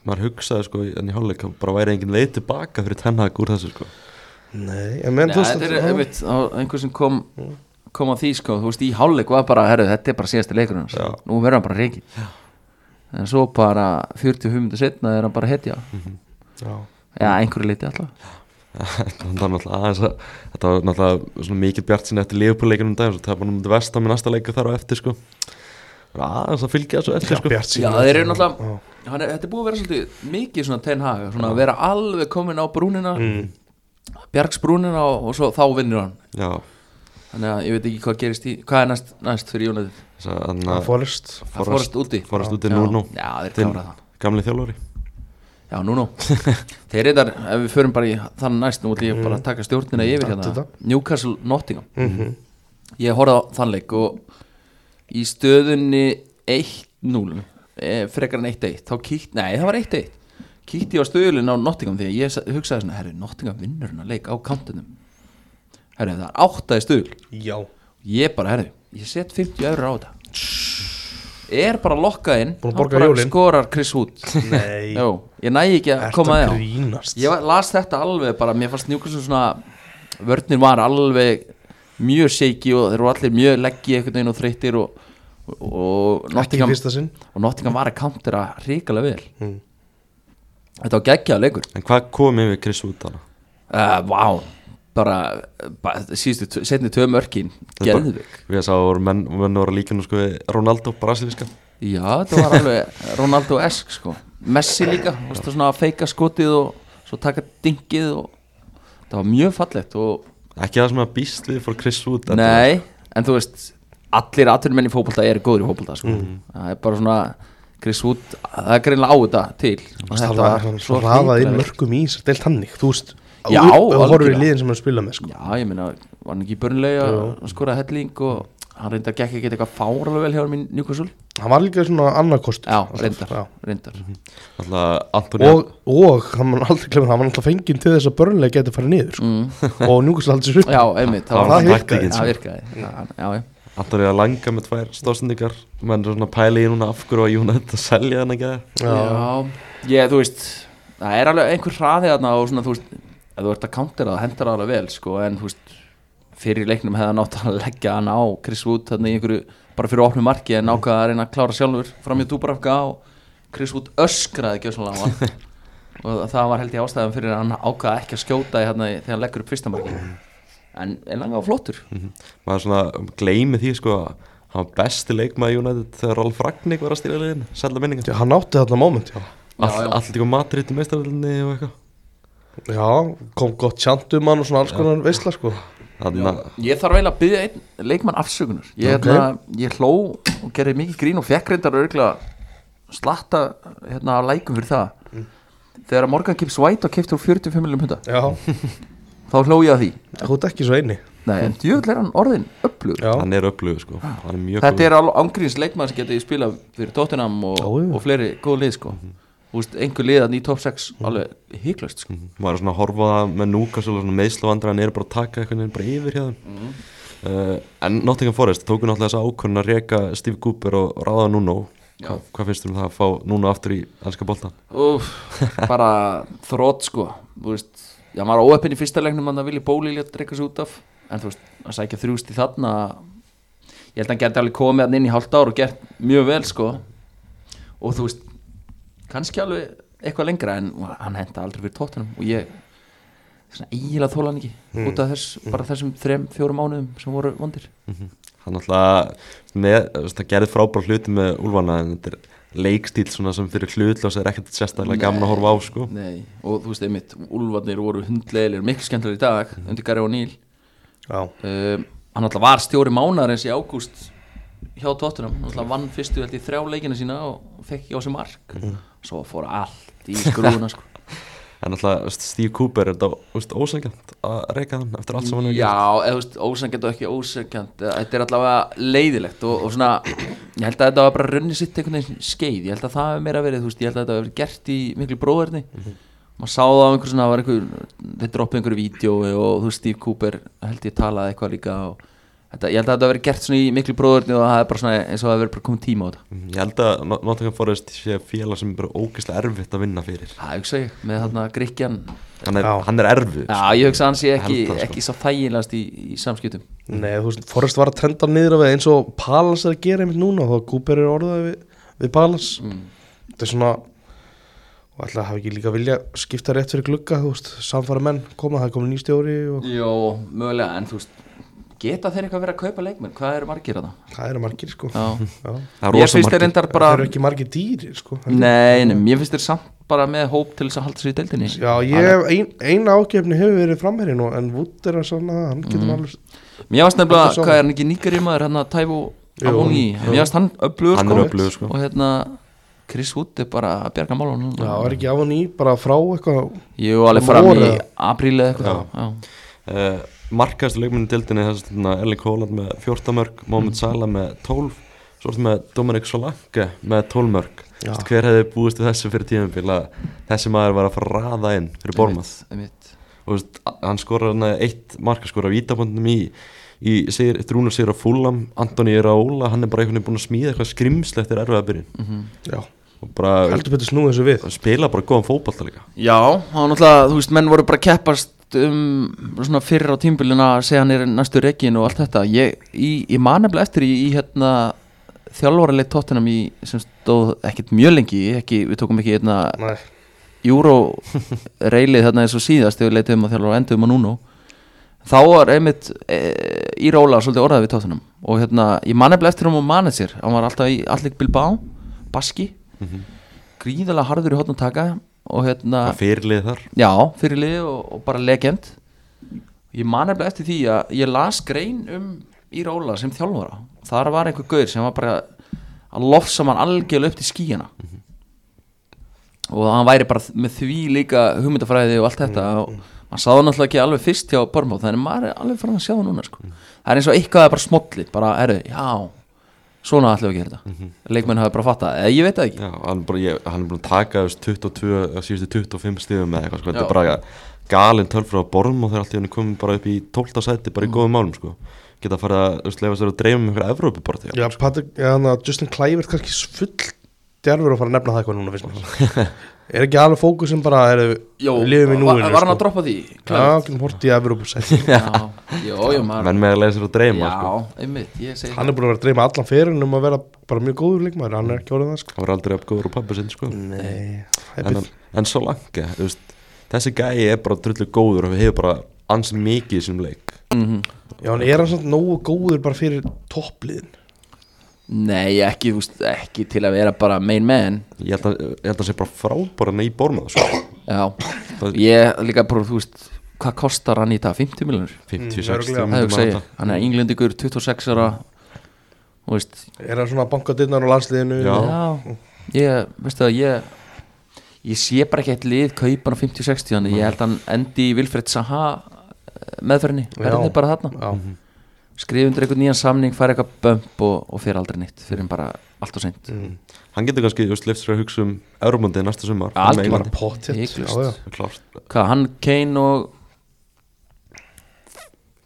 A: maður hugsaði sko í- en í háluleik að bara væri engin leið tilbaka fyrir tennhag úr þessu sko
B: Nei, en menn,
C: Nei,
B: þú veist,
C: þetta er einmitt, þá- einhver sem kom kom að því sko, þú veist, í hálfleik var bara, herru, þetta er bara síðasti leikurinn hans. nú verður hann bara reiki en svo bara 40 humdu setna er hann bara hetja,
B: Mhm. já,
C: eða einhverju leiti alltaf
A: (laughs) Þetta var náttúrulega aðeins að þetta var náttúrulega svona mikið bjart sinni eftir Liverpool-leikunum dag og það var náttúrulega vestam í næsta leiku þar á eftir sko Það var aðeins að fylgja þessu eftir
B: já,
A: sko
B: bjart sín.
C: Já, þeir eru náttúrulega, hann er, þetta er búið að vera svolítið mikið svona ten hag, svona að vera alveg komin á brúnina bjargsbrúnina og, og svo þá vinnur hann
A: Já,
C: þannig að ég veit ekki hvað gerist í, hvað er næst, næst fyrir Jónatið,
A: þess að hann
B: Það
A: að
B: fórist.
C: að fórast úti
A: forast út í
C: Já.
A: Nuno
C: Já, þeir
A: Til-
C: klárað það
A: Gamli þjálfari
C: Já, nú (laughs) nú Þeir reyndar, ef við förum bara í þann næst Nú ætlum ég
B: Mm.
C: bara að taka stjórnina yfir
B: Taktu
C: hérna
B: þetta.
C: Newcastle Nottingham
B: Mhm.
C: Ég horfði á þann leik og Í stöðunni 1-0 eh, Frekar en 1-1 Þá kíkt, nei það var 1-1 kíkti ég á stöðulinn á Nottingham því að ég sa- hugsaði svona, herru, Nottingham vinnur hennar leik á kantinum herru, það er áttaði stöðul
B: Já,
C: ég bara, herru, ég set 50 eurur á þetta er bara lokkað inn
B: Búin að
C: hann
B: borga
C: bara
B: jólin.
C: skorar Chris Hood
B: (laughs)
C: (laughs)
B: nei
C: Jó, ég næ ekki að
B: Ertu
C: koma
B: að
C: að því á
B: grínast
C: ég var- las þetta alveg bara, mér fannst Newcastle svona vörnir var alveg mjög shaky og þeir eru allir mjög leggji einhvern veginn og þreyttir og, og, og
B: Ekki í
C: Nottingham
B: fyrsta sinn
C: og Nottingham var að countera ríkala vel þetta var geggjaða leikur
A: En hvað kom yfir Chris Wood þarna?
C: uh, wow, bara, bara síðustu, tvö- seinni tvö mörkin
A: Þetta er bara-
C: geðvik
A: Við að sá voru menn, menn voru líkinu sko við Ronaldo, brasilíska
C: já, þetta var alveg Ronaldo-esk sko. Messi líka, þú veist, svona að feika skotið og svo taka dingið og það var mjög fallegt og
A: Ekki það sem að býst við fór Chris Wood en-
C: Nei, en þú veist allir atvinnumenn í fótbolta eru góður í fótbolta sko. það er bara svona Chris Wood, það er greinlega á þetta til og
B: Það var
C: svo
B: svo hraðað inn
C: hrikalega-
B: mörgum í sér Deilt hannig, þú veist
C: Já,
B: Og horfir í
C: algjörlega.
B: liðin sem hann spila með sko.
C: Já, ég meina, var hann ekki í börnlega og skoraði helling og hann reyndar gekk ekki eitthvað fáralega vel hjá hann minn Newcastle
B: Hann var líka svona annarkost
C: Já, reyndar, reyndar.
A: Alltaf Antoni
B: Og, og hann man aldrei glemur, hann var alltaf fenginn til þess að börnlega geti farið niður sko. og njúkast aldrei sér upp
C: Mm. Já, einmitt,
A: Það
B: var
C: það
A: taktíkin,
C: virkaði,
A: sko.
C: það virkaði. Það- Já, já
A: Antoni að langa með tvær stóðsendingar Menn er svona að pæla í núna af hverju að United að selja hann ekki það
C: Já, ég, þú veist það er alveg einhver hraði þarna og svona, þú veist, ef þú ert að countera það hendur það alveg vel, sko, en þú veist fyrir leiknum hefði hann átt að leggja hann á Chris Wood, þarna í einhverju, bara fyrir opnu marki en ákvaða að reyna að klára sjálfur fram í Dúbrafka og Chris Wood öskraði ekki svona á hann og það var held ég ástæðan fyrir að hann ákvaða ekki að skjóta í þarna, í- þegar hann leggur upp fyrsta marki en, en hann var flottur
A: Maður svona gleymi því sko að Hann var besti leikmaði United þegar Rolf Ragník var að stýra liðin Sælla minningar
B: Já, Hann átti þarna moment, já
C: já.
A: Allt ykkur Madrid í meistaröldinni og eitthvað
B: Já, kom gott tjant um hann og svona alls konar veistla sko
A: Þannig að
C: Ég þarf eiginlega að byggja einn leikmann afsökunar Ég,
B: Ok.
C: hérna, ég hló og gerði mikið grín og fekk reyndar örgla slatta hérna að lækum fyrir það
B: Mm.
C: Þegar að Morgan Gibbs White og keftur úr 45 miljum hunda
B: Já,
C: þá hló ég að því
B: þú ert ekki svo eini
C: Nei, en djöfull er hann orðin öflugur
B: Mm. Já,
A: hann er upplögu sko Hann er mjög
C: Þetta
A: góður.
C: er alveg ángríns leikmann sem getið spilað fyrir Tottenham og,
B: Já, Mm. já.
C: og fleiri góð lið sko Þú veist, einhver liðan í top 6
B: Mm.
C: alveg hygglöst sko
A: maður er svona að horfa á það með núka svona meðslavandra en eru bara að taka einhvern veginn bara yfir hjá þeim
B: Mhm.
A: uh, en Nottingham Forest tóku náttúrulega þessa ákvörðun að reka Steve Cooper og ráða Nuno Hva, hvað finnst þú um það að fá Nuno aftur í ennska boltan?
C: Úf, bara þrótt sko þú veist, já maður var óöppin í fyrsta leiknum þannig að vilja bóli létt reyka sig út af en þú veist, að sækja þrjúst í þarna ég held að hann geti alveg komið hann inn í hálft ár og gert mjög vel sko og þú veist, kannski alveg eitthvað lengra en hann henda aldrei fyrir tóttunum og ég svona eiginlega þóla hann ekki út af þess, bara þessum þrem, fjórum mánuðum sem voru vondir
A: hann náttúrulega með, þú veist, það gerði frábár hluti með Úlfana en þetta er leikstíl svona sem fyrir hlutljós er ekkert sérstaklega gaman að horfa á sko
C: Nei, og þú veist einmitt, úlfarnir voru hundleilir miklu skemmtilega í dag, undir Gary og Níl
B: já,
C: um, hann alltaf var stjóri mánarins í ágúst hjá Tottenham, hann alltaf vann fyrstu held í þrjá leikina sína og fekk ekki á sig mark svo fór allt í skrúðuna sko.
A: en náttúrulega þú veist, Steve Cooper er þetta ósækjant að reka hann eftir allt sem hann hefur gert.
C: já, eða þú veist, ósangjönd og ekki ósangjönd þetta er allavega leiðilegt og, og svona, ég held að þetta var bara runni sitt einhvern veginn skeið, ég held að það hefur meira verið þú veist, ég held að þetta hefur verið gert í miklu bróðurni
A: Mhm.
C: maður sá það á einhver svona það var einhver, þeir droppið einhverju vídjói og þú veist, Steve Cooper held ég talaði eitthvað líka og þetta, ég held að þetta hefur verið gert svona í miklu bróðurni og það er bara svona eins og það hefur verið bara komið tíma á þetta
A: ég held að Not- Nottingham Forest sé félag sem er bara ógeðslega erfitt að vinna fyrir
C: Það hugsa ég, með þarna Gríkjan
A: hann er,
B: Já.
A: hann er erfið
C: Já, ég hugsa hans ég ekki,
A: Held það, sko.
C: ekki svo þægilegast í, í samskiptum
B: nei, þú veist, Forrest var að trenda hann niður af eins og Palace er að gera einmitt núna þá Cooper er orðað við, við Palace þetta er svona og alltaf hafi ekki líka vilja skipta rétt fyrir glugga þú veist, samfara menn koma, það er komin nýstjóri
C: Mm.
B: og
C: Jó, mögulega, en þú veist Geta þeir eitthvað verið að kaupa leikmenn? Hvað eru margir að það?
B: það eru margir sko
C: Já,
B: Já.
A: Það er
C: mér
A: rosa
C: finnst
A: margir.
C: þeir reyndar
B: það
C: bara
B: eru ekki margir dýrir sko
C: Nei, nei, mér finnst þeir samt bara með hóp til þess að halda sér í deildinni
B: Já, ég hef, ein, eina ágefni hefur verið framherrin og en Wood er að sanna það, hann getur alveg
C: Mér varst
B: Halda
C: nefnilega,
B: saman.
C: hvað er hann ekki nýgari maður hérna Tævo
B: Jú,
C: Avoni
B: jú.
C: Mér varst hann öflugur
A: hann er upplöðu sko
C: Og hérna, Chris Wood er bara að bjarga málun
B: Já, er ekki á hann í, bara frá eitthvað
C: Ég var alveg fram í apríli eða eitthvað Já.
A: uh, markaðstu leikmenni dildinni þess að Erling Haaland með 14 mörg, Mohamed Salah með 12 svo ertu með Dominic Solanke með 12 mörg
B: Já.
A: Veistu, hver hefði búist við þessu fyrir tímabil að þessi maður var að fara að raða inn fyrir Bormað
C: einmitt, einmitt.
A: og veist, hann skorar hann eitt markaskor af vítabondum í, í segir, drúnar sigur á Fulham Antoni er á Óla, hann er bara einhvern veginn búin að smíða eitthvað skrimslegt er erfið að byrja
B: Já,
A: og bara
B: heldur betur snúið þessu við
A: spila bara góðan fótballta líka
C: Já, það var náttúrulega, þú veist, menn voru bara að keppast um svona fyrir á tímbilina að segja hann er næstu rekin og allt þetta ég, í, ég man nefnilega eftir í, í hérna þjálfaraleit tóttunum í, sem stóð ekkert mjög lengi ekki, við tókum ekki hérna
B: Nei,
C: Euro-reilið þarna eins og síðast þegar við leitum að þjálfur og endum að núna þá var einmitt e, í róla svolítið orðað við tóttunum og hérna, ég man nefnilega eftir hún og manið sér hann var alltaf í allir Bilbao, Baski gríðalega harður í hotn að taka og hérna
A: það fyrirlið þar
C: já, fyrir liði og, og bara legend ég man nefnilega eftir því að ég las grein um Íra Óla sem þjálfara þar var einhver gaur sem var bara að lofsa mann algjörlega upp til skíina
B: Mhm.
C: og hann væri bara þ- með því líka hugmyndafræði og allt þetta
B: Mhm.
C: og maður sá hann náttúrulega ekki alveg fyrst hjá Bormóð þannig að maður er alveg farin að sjá það núna sko.
B: Mhm.
C: það er eins og eitthvað er bara smolli bara erðu, já, svona ætlum við að gera þetta
B: Mhm.
C: leikmenn hafa bara fattað, eða ég veit það ekki
A: Já, hann, bara, ég, hann er búin að taka þess 22, eða síðustu 25 stíðum eða eitthvað, sko, þetta
C: Já.
A: er bara galin tölfrá borðum og þeir allt í henni komin bara upp í 12. sæti
C: Mm.
A: bara í góðum málum, sko geta að fara að þú veist, leifa sér að dreifum einhverja Evrópuborti
B: já, Patrik, já, hann að Justin Clive er kannski full djarfur að fara að nefna það eitthvað núna finnst mér
A: (laughs)
B: Er ekki alveg fókusin bara, er,
C: Jó,
B: lifum í
C: var-
B: núinu sko?
C: var hann að droppa því?
B: Já, getum hort í Evrópusæti
A: (laughs)
C: já, já, já, maður
A: menn með að leifa sér að dreima,
C: Já,
A: sko
C: einmitt, ég segi
B: Hann er búin að vera að dreyma allan fyrir um að vera bara mjög góður leikmaður Hann er ekki orðið það, sko
A: hann var aldrei uppgóður á pappa sinn, sko
C: Mm.
B: Nei,
A: en, hann- en svo langa, þú veist þessi gæi er bara drullu góður og við hefur bara ansi mikið í sinum leik
C: Mhm.
B: Já, en er hann samt nógu góður bara fyrir toppliðin
C: Nei, ekki, þú veist, ekki til að vera bara main man
A: ég held að, ég held að hann sé bara frábæran í bormað,
C: Mm.
A: sko
C: Já,
A: Það-
C: ég líka bara, þú veist Hvað kostar hann í dag? 50 miljonur?
A: 56
B: örugglega.
A: myndum
C: Það
A: að
C: er að segja,
A: þetta.
C: hann er englendikur 26 ára Þú veist,
B: Er hann svona bankadinnar á landsliðinu
A: Já.
C: já, ég, veistu það, ég Ég sé bara ekki eitt lið kaupan á 50-60 Þannig ég held hann endi í Vilfred Saha eh, meðferðinni, verðinni bara þarna
B: Já,
C: skrifa undir einhvern nýjan samning, fara eitthvað bömp og, og fyrir aldrei neitt, fyrir bara allt og seint
A: hann getur kannski, þú veist, leift sér að hugsa um Evrópundið næsta sumar
C: Algjörlega.
A: Með Englandi.
B: bara pottet Já,
C: Hiklaust.
B: já
A: Klárt.
C: Hvað, hann, Kane og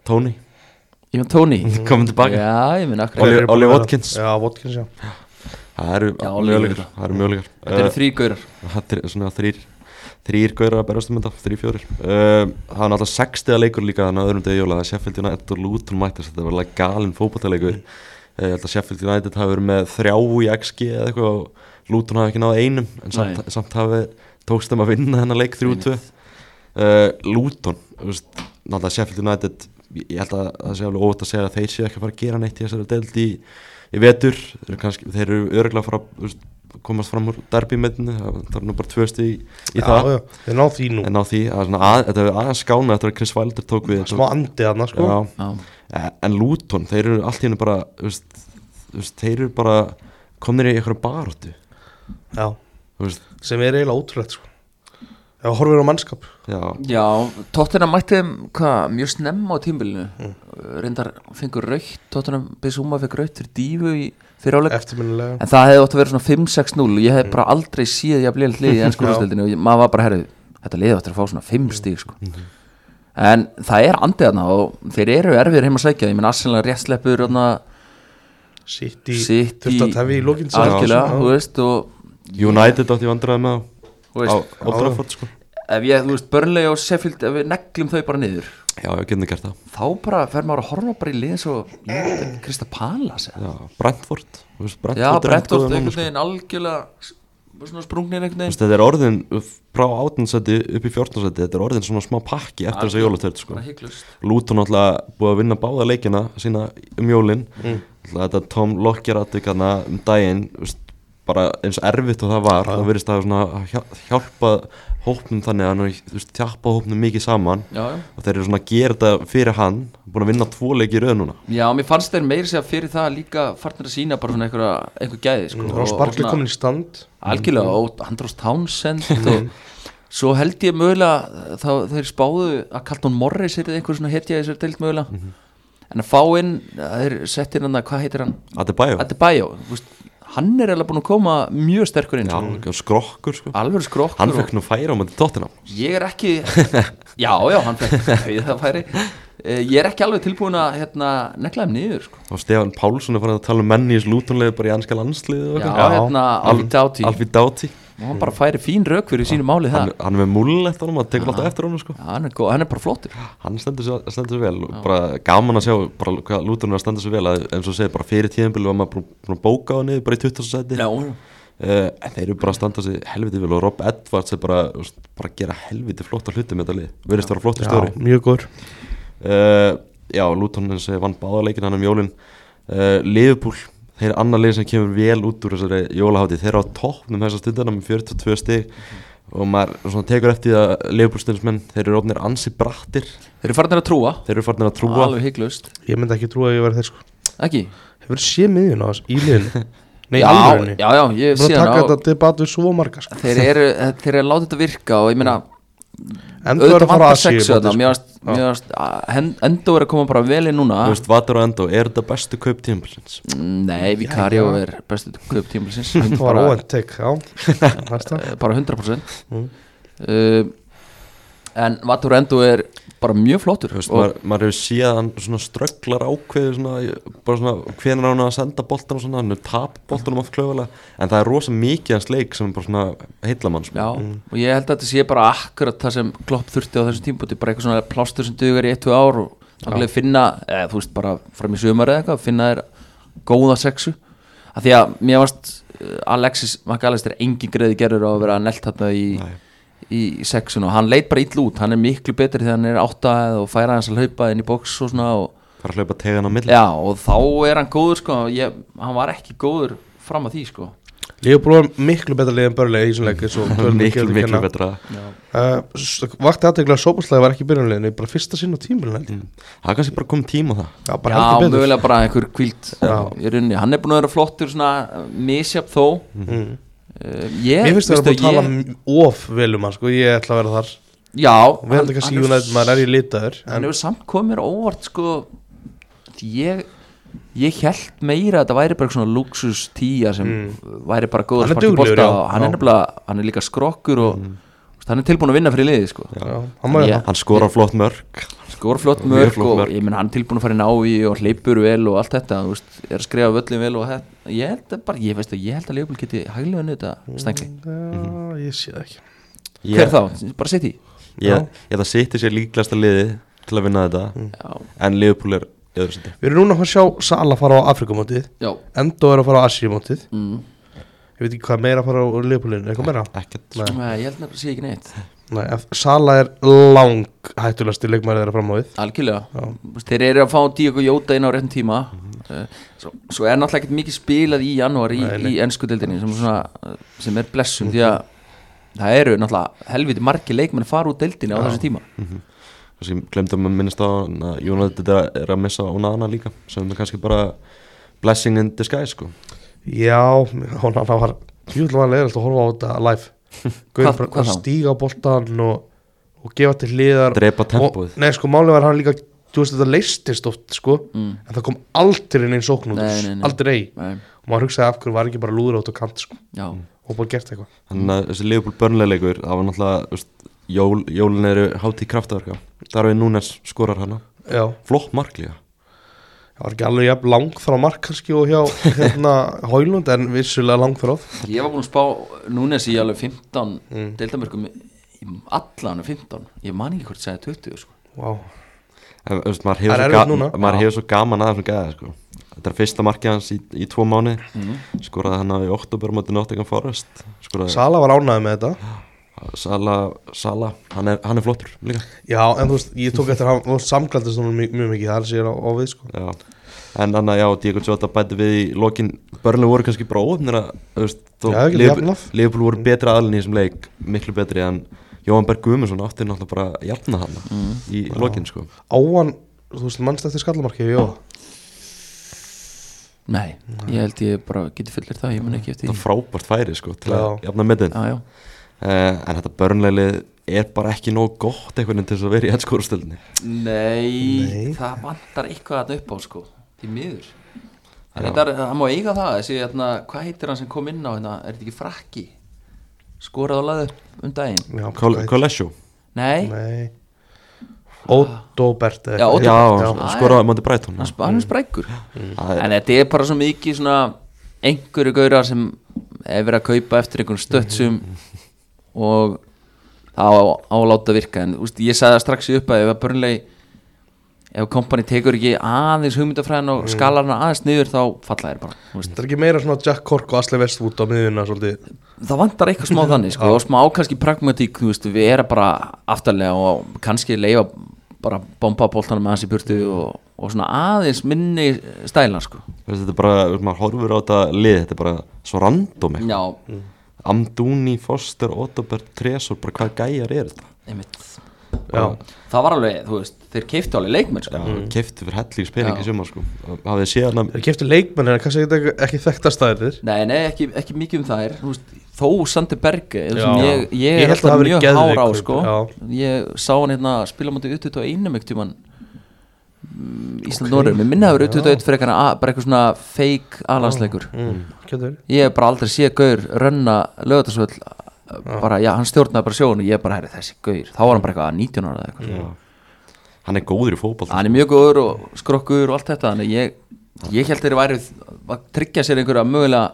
A: Tony (laughs)
C: ég meina Tony
A: komum tilbaka
C: Já, ég minna akkur
A: Oli-
B: Þeir eru búin
A: Oli
B: að vera-
A: Watkins.
B: Já, Watkins, já
A: það eru
C: Já,
A: mjögulegar
C: líka.
A: það eru mjögulegar
C: Þetta eru þrý gaurar
A: það er svona þrýr þrýr gauður að berast um þetta, þrýr fjórir uh, það var náttúrulega sextiða leikur líka þannig að öðrum degi jóla, það er Sheffield United og Luton mættast, þetta var alveg galin fótballtaleikur mm. ég held að Sheffield United hafi verið með þrjá í XG eða eitthvað og Luton hafi ekki náð einum en samt, samt hafi tókst þeim að vinna þennan leik 3-2 uh, Luton þú veist, náttúrulega Sheffield United ég ég held að það sé alveg óvægt að segja að þeir séu ekki að fara að gera neitt í þessari deild í, í vetur, þeir eru, kannski, þeir eru örgulega að fara að þú veist, komast fram úr derbymetinu, það það er nú bara tvö stig í, í það,
B: Já, já, þeir ná því nú
A: en á því að, svona, að, þetta er aðeins skána eftir að Chris Wilder tók við
B: Smá andið hann, sko
A: já,
C: Já,
A: Eh, en Luton, þeir eru allt í hennu bara þú veist, þú veist, þeir eru bara komnir í eitthvað baróttu
B: Já,
A: þú veist,
B: sem er eiginlega ótrúlegt, sko Ef við horfum á mannskap
A: já,
C: já Tottenham mætti þeim, hvað, mjög snemma á tímbilinu Reyndar fengur raukt, Tottenham Bissúma fekk raukt fyrir dífu í fyrir áleik
B: Eftirminnilega
C: En það hefði ótt að vera svona 5-6-0 Ég hef bara aldrei síð ég að blíða hlið í ennsku
B: Já.
C: úrstildinu og ég- maður var bara herrið Þetta liði átt að fá svona 5 stík sko. En það er andið þarna og þeir eru erfiðir heim að sækja Ég menn Arsenal er rétt sleppur þarna,
B: Sitt í
C: Sitt
B: Þurft að tefi í lokinn sagði hann,
C: Algjörlega,
B: sko.
C: þú veist og
A: United átti vandræði með
C: Þú
A: á, á
C: veist,
A: Old Trafford sko.
C: ef ég, þú veist, Burnley og Sheffield ef við neglum þau bara niður
A: já, við getum gert það
C: þá bara fer maður að horfa bara í lið eins og Krista Palas eða.
A: já, Brentford, þú veist,
C: Já,
A: Brentford er ekkert
C: Brentford
A: góður núna,
C: einhvern
A: sko.
C: veginn algjörlega s- svona sprungnir
A: Þú
C: einhvern veginn
A: veist, þetta er orðin uh, frá átjónsæti upp í fjórtjónsæti þetta er orðin svona smá pakki eftir þessa jólatöld sko.
C: bara hygglust
A: Lúton alltaf búið að vinna báða leikina sína um jólin mm. þetta Tom Lockyer aðtök hana um daginn þú veist, bara eins erfitt og það var það verðist að svona hjá- hjálpa hópnum þannig að hann er, þú veist, þjappa hópnum mikið saman
C: Já, já
A: og þeir eru svona að gera þetta fyrir hann búin að vinna tvo leiki í röð núna
C: Já, mér fannst þeir meiri segja fyrir það líka farnir að sína bara svona einhverja, einhver gæði sko,
B: Ross Barkley
C: svona-
B: komin í Mhm. stand
C: algjörlega og Andros Townsend og svo held
B: Mhm.
C: ég mögulega þá þeir spáðu að Carlton Morris er einhver svona hetja í þessari deild mögulega en að fá inn, það er sett inn hann að, hvað heitir hann?
A: Adebayo
C: Adebayo, þú veist, hann er eiginlega búin að koma mjög sterkur inn
A: Já,
C: sko.
A: mm. skrokkur sko
C: alveg skrokkur
A: Hann
C: og-
A: fekk nú færa á mæti tóttina
C: ég er ekki já, já, hann fekk dauðafæri. Eh, (laughs) ég er ekki alveg tilbúin að hérna, negla þeim niður sko.
A: Og Stefan Pálsson er farin að tala um menni í slútonlega bara í anska landsliði og
C: já,
A: eitthvað.
C: hérna, Alfie Doughty
A: Alfie Doughty
C: og hann bara færi fín rauk fyrir sínu máli
A: hann,
C: það
A: hann er með múlun eftir honum, hann tekur alltaf eftir honum sko
C: Já, hann, er góð, hann er bara flottur
A: Hann stendur sér, stendur sér vel og bara gaman að sjá bara hvað lúturinn er að standa sér vel að, eins og segir bara fyrir tíðanbili var maður búin- búin að bóka á niður bara í 20. seti
C: já,
A: uh, en þeir eru bara að standa sér helviti vel og Rob Edwards er bara, þú veist, bara að gera helviti flotta hluti með þetta lið verðist vera flottur
B: Já,
A: stöðri
B: mjög góður
A: uh, Já, Luton eins og ég vann báðarleikin hann um jólin uh, Liverpool, þeir eru annar leik sem kemur vel út úr þessari jólahátti þeir eru á toppnum þessa stundana með 42 stig og maður svona tekur eftir því að Liverpool stundsmenn, þeir eru ofnir ansi brattir
C: þeir eru farin að trúa
A: þeir eru farnir að trúa
C: alveg hygglaust,
B: Ég myndi ekki trúa að ég verði þeir sko
C: ekki?
B: Hefur séð miðjun á þessu í
C: (laughs)
B: liðinu Nei,
C: já,
B: alveg
C: já, já, ég
B: Búin
C: sé
B: að
C: hann
B: taka
C: á
B: þetta debat við svo marga sko
C: þeir eru, þeir eru að láta þetta virka og ég meina,
B: Endur er
C: auðvitað
B: að fara
C: vantar
B: að séu
C: sexu þarna,
B: sko.
C: mér varst, mér varst endur er að koma bara vel inn núna
A: Þú veist, Vatur og Endo, er þetta bestu kaup tímpilsins?
C: Nei, Vicario er bestu klub
B: (laughs)
C: tímulsins
B: sko. Það var óvænt Mm. tek, já Næsta
C: eh, bara 100% uh, En Vatur Endo er bara mjög flottur
A: Þú veist,
C: og
A: maður, maður hefur séð að hann svona strögglar ákveðu svona, bara svona hvenar hann á að senda boltan og svona, hann er tap boltanum oft klöfulega, en það er rosa mikið hans leik sem er bara svona heillamann sko.
C: Já, og ég held að þetta sé bara akkurat það sem Klopp þurfti á þessu tímpúti bara eitthvað svona plástur sem dugar í 1-2 ár og þannig að finna, eða þú veist bara fram í sömur eða eitthvað, finna þér góða sexu, af því að mér varst eh, Alexis McAllister engin greiði gerður á að vera nelt þarna í, í sexun og hann leit bara ill út hann er miklu betri þegar hann er áttað og færa hans að hlaupa inn í box og svona og,
A: fara að hlaupa tegan á milli
C: já, og þá er hann góður sko, ég, hann var ekki góður fram að því sko
B: Liverpool var miklu betra lið en börlega í þessum leik eins og
C: (laughs)
B: Burnley
A: miklu,
B: gefur til
A: miklu
B: kynna.
A: betra
B: Uh, s- Vakti aðtegla að sópallega var ekki í byrjunleginu bara fyrsta sinn á tímurleginu
A: það er kannski bara komið tíma á það
B: Já, bara
C: Mm. Já,
B: heldur betur
C: mögulega bara einhver kvíld í rauninni, hann er búin að vera flottur svona misjap þó
B: mm.
C: uh, ég,
B: Mér finnst það að
C: veistu,
B: búið að tala
C: ég,
B: m- of vel um hann sko, ég ætla að vera þar
C: Já,
B: og við erum kannski United, maður er í litaður
C: hann
B: en
C: hefur samt komið mér á óvart sko, því ég ég held meira að þetta væri bara svona luxus tíja sem væri bara góð
B: Hm. Hann er
C: að sparka í
B: duglegur,
C: bolta
B: já,
C: og hann
B: já. Hm.
C: er nefnilega, hann er líka skrokkur og veist, hann er tilbúin að vinna fyrir liðið sko
B: já, hann var
C: Ég-
B: það
A: hann skorar flott mörg
C: skor Sko, flott
A: Mjög
C: mörg
A: flott
C: og
A: mörk.
C: ég menn hann er tilbúin að fara í návi og hleypur vel og allt þetta, þú veist, er að skrifa völlin vel og þetta, ég held að bara, ég veist að ég held að Leopold geti hæglega unnið þetta stengli Mhm.
B: Já, ég sé það ekki
A: ég,
C: hver þá, bara sitt í
A: ég, ég það sýtti sér líklegasta liði til að vinna þetta
C: já,
A: en Liverpool er í öðru seti
B: Við erum núna að sjá Sala fara á Afrikamótið
C: já,
B: Endo er að fara á Asíumótið
C: mm.
B: Ég veit ekki hvað meira að fara á Leopoldinu, eitthvað meira
A: ekkert
B: Nei,
C: Nei, ég held nefnilega að sé ekki neitt
B: nei, ef- Sala er lang hættulegasti leikmærið þeirra fram á við
C: algjörlega,
B: Já.
C: Þú veist, þeir eru að fá Diego Jóta inn á réttum tíma uh, svo, svo er náttúrulega ekkert mikið spilað í janúar í,
B: Nei, nei.
C: í ennsku deildinni sem, er svona, uh, sem er blessum því að það eru náttúrulega helviti margi leikmenn að fara úr deildinni á þessu tíma
A: kannski glemdum að minnast á hann að United er að- er að missa Onana líka sem er kannski bara blessing in disguise sko
B: Já, hún hann var Júlega var leiðilegt að horfa á þetta
C: (laughs)
B: live Gauðin
C: Hvað-
B: bara
C: hvað
B: að
C: þá?
B: stíga á boltan og, og gefa til hliðar
A: drepa
B: og,
A: tempóið
B: Nei, sko, málið var hann líka Þú veist, þetta leistist oft, sko En það kom aldrei inn einn sókn út úr
C: Nei,
B: þessu,
C: nei, nei.
B: Aldrei
C: Mm. Nei,
B: Og maður hugsaði af hverju var ekki bara lúður át og kant, sko
C: já,
B: Og bara gert eitthvað
A: þannig að þessi Liverpool börnleileikur það var náttúrulega þú veist, jól, jólin eru hátíð kraftaverka Darvin Núnes skorar hana
B: Já,
A: flott mark líka
B: það var ekki alveg jafn lang frá mark kannski og hjá (laughs) hérna Hólund en vissulega lang frá
C: ég var búin að spá Núnes í alveg 15 deildamörkum í allan 15, ég man ekki hvort segja 20 sko.
B: wow.
A: En, þú veist, maður
B: Það er
A: hefur,
B: erfitt
A: svo,
B: núna.
A: ga maður hefur svo gaman að þessum gæða sko. þetta er fyrsta markið hans í, í tvo mánu skoraði hann í oktober motið Nottingham Forest skoraði
B: Sala var ánægð með þetta
A: Sala, Sala hann, er, hann er flottur líka
B: Já, en þú veist, ég tók eftir að hann samklæðist hún mjög, mjög mikið, það er sér á, á við sko.
A: já. en annað já, Diego Jota bæti við í lokin börnlega voru kannski bara óöfnir að þú veist, þó
B: Já, ekki
A: Liverpool-
B: jafnað.
A: Liverpool voru betra aðlinn í þessum leik miklu betri en Jóhann Berg Guðmundsson átti náttúrulega bara að jafna hann í
B: Mm.
A: lokin sko
B: Áan, þú veist, mannst eftir skallamarkið, já
C: Nei, ég held ég bara geti fullir það, ég man ekki eftir
A: það
C: því
A: frábært færi sko til
B: Já.
A: að jafna metin
C: Já, já,
A: uh, en Eh, þetta börnleglið er bara ekki nóg gott einhvern veginn til þess að vera í ennskórastöldinni
C: Nei,
B: Nei.
C: það vantar eitthvað að upp á sko Því miður Það reyndar- það má eiga það þessi, hérna, Hvað heitir hann sem kom inn á hérna, Er þetta ekki frakki? Skorað og laði upp um daginn
B: Já, hvað-
A: Kolesjó
C: Nei,
B: Nei Ódóbert eða
C: Já,
B: eitthvað.
C: Ódó-
A: Já,
C: Bert, já.
A: hann skoraði mandi Brighton
C: hann sp- hann er sprækur
A: Það er-
C: En þetta er bara svo mikið svona einhverju gaurar sem er verið að kaupa eftir einhvern stöttsum og það á- á að láta virka en úst, ég sagði það strax í upp að ef að börnleg ef kompani tekur ekki aðeins hugmyndafræðin og skalar hana aðeins niður þá falla þær bara þú veist.
B: Það er ekki meira svona Jack Cork og Asli Westwood á miðuna svolítið
C: það vantar eitthvað smá þannig sko, og smá kannski pragmatík þú veist, við erum bara aftarlega og kannski leifa bara bomba boltanum aðeins í burtu og, og svona aðeins minni stælar sko.
A: Þú veist, Þetta er bara, ef maður horfir á þetta lið Þetta er bara svo random eitthvað.
C: já,
A: Amdúni, Foster, Otobert, Tresor bara hvað gæjar er þetta
C: einmitt
B: Já,
C: það var alveg, þú veist, þeir keiftu alveg leikmenn sko.
A: Já, mm. kefti fyrir helling
C: Já.
A: spening í sumar sko Hafið séð hann
B: þeir keftu leikmenn en kannski ekki, ekki þekktastaðir
C: nei, nei, ekki, ekki mikið um það er þú veist, þó Sandi Berge
B: Já.
C: sem ég,
B: Ég
C: ég
B: held
C: er
B: það
C: alltaf
B: hafi verið
C: mjög
B: geðveik
C: hár á
B: kaup,
C: sko.
B: já.
C: ég sá hann hérna spila á móti uttut á einum ekkert tíman Ísland okay. Norður, mér minna hefur uttut á eitt fyrir eitthvað bara eitthvað svona fake alansleikur
B: Mm. Getur
C: ég hef bara aldrei séð Gaur rönna lögutarsvöld bara, já, hann stjórnaði bara sjónu ég bara, herri, þessi Gaur, þá var hann bara eitthvað 19 ára eða eitthvað
A: Hann er góður í fótball
C: hann er mjög góður og skrokkur og allt þetta þannig ég, ég held þeirri væri að tryggja sér einhverja mögulega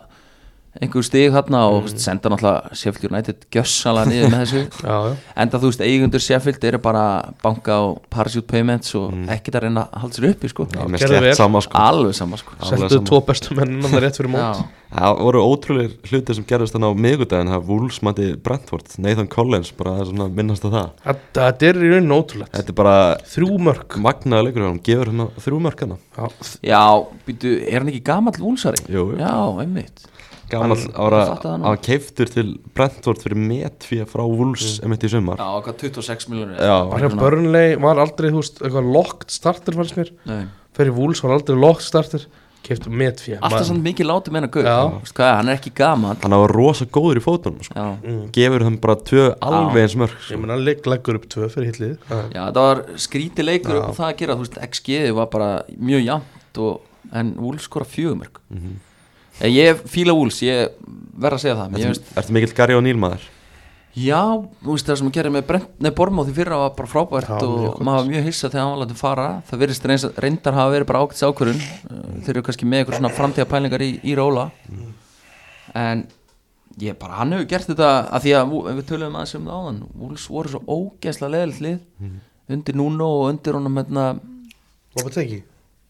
C: einhver stig þarna og mm. senda náttúrulega Sheffield United gjössala niður
A: (laughs)
C: með þessu
B: Já, já
C: enda þú veist eigundur Sheffield eru bara banka og parachute payments og ekkert að reyna að halda sér uppi sko
A: Já, mér
B: gerðu vel.
A: slett Mm. sama sko
C: alveg sama sko
A: Já. Alveg
B: Settu
A: sama.
B: tvo bestu mennina það rétt fyrir mót
C: Já.
A: Það voru ótrúlega hluti sem gerðist þannig á miðgudaginn Það Wolves mæti Brentford, Nathan Collins bara það er svona að minnast á það
B: Þetta þetta er í rauninni ótrúlegt
A: Þetta er bara
B: Þrjú mörg
A: magnaða leikur hann gefur hann þrjú hérna. mörkana
B: Já,
C: já, býtu, er hann ekki gamall úlsari?
A: Jú, jú.
C: já, einmitt
A: Gamal
C: ég fattaði það
A: ára
C: nú.
A: að keiftur til Brentford fyrir metfíja frá Wolves mm. emitt í sumar
C: já, hvað 26 miljonir
A: Já,
B: bara hjá Burnley var aldrei, þú veist, eitthvað lokt starter fannst mér Fyrir Wolves var aldrei lokt starter Keftu metfjö
C: alltaf samt mikið látið með hennar Gaur
B: Já.
C: Þú veist hvað, hann er ekki gamall
A: hann var rosa góður í fótunum sko.
C: já
A: gefur hann bara tvö alveg eins mörk
B: Mm. Ég
A: sko.
B: meina, legg- leggur upp tvö fyrir hitlið
C: Já, það var skríti leikur og það að gera, þú veist, XG var bara mjög jæmt og en Wolves skora fjögumörk mm -hmm. Ég fíla Wolves, ég verð að segja það mér
A: Ertu
C: veist,
A: ertu mikill Gary og Nílmaður
C: Já, þú veist, það sem að gera með Brent, nei, Bormóð í fyrra var bara frábært
B: Já, mjög
C: og
B: gott.
C: maður var mjög hissa þegar hann var látið fara það virðist reyns- reyndar hafa verið bara ágætis ákvörun þeir eru kannski með eitthvað svona framtíðapælingar í, í róla en ég bara, hann hefur gert þetta að því að Wol- við töluðum aðeins um það áðan Wolves voru svo ógeðslega leðilt lið
A: Mhm.
C: undir Nuno og undir honum hérna,
B: Loppa teki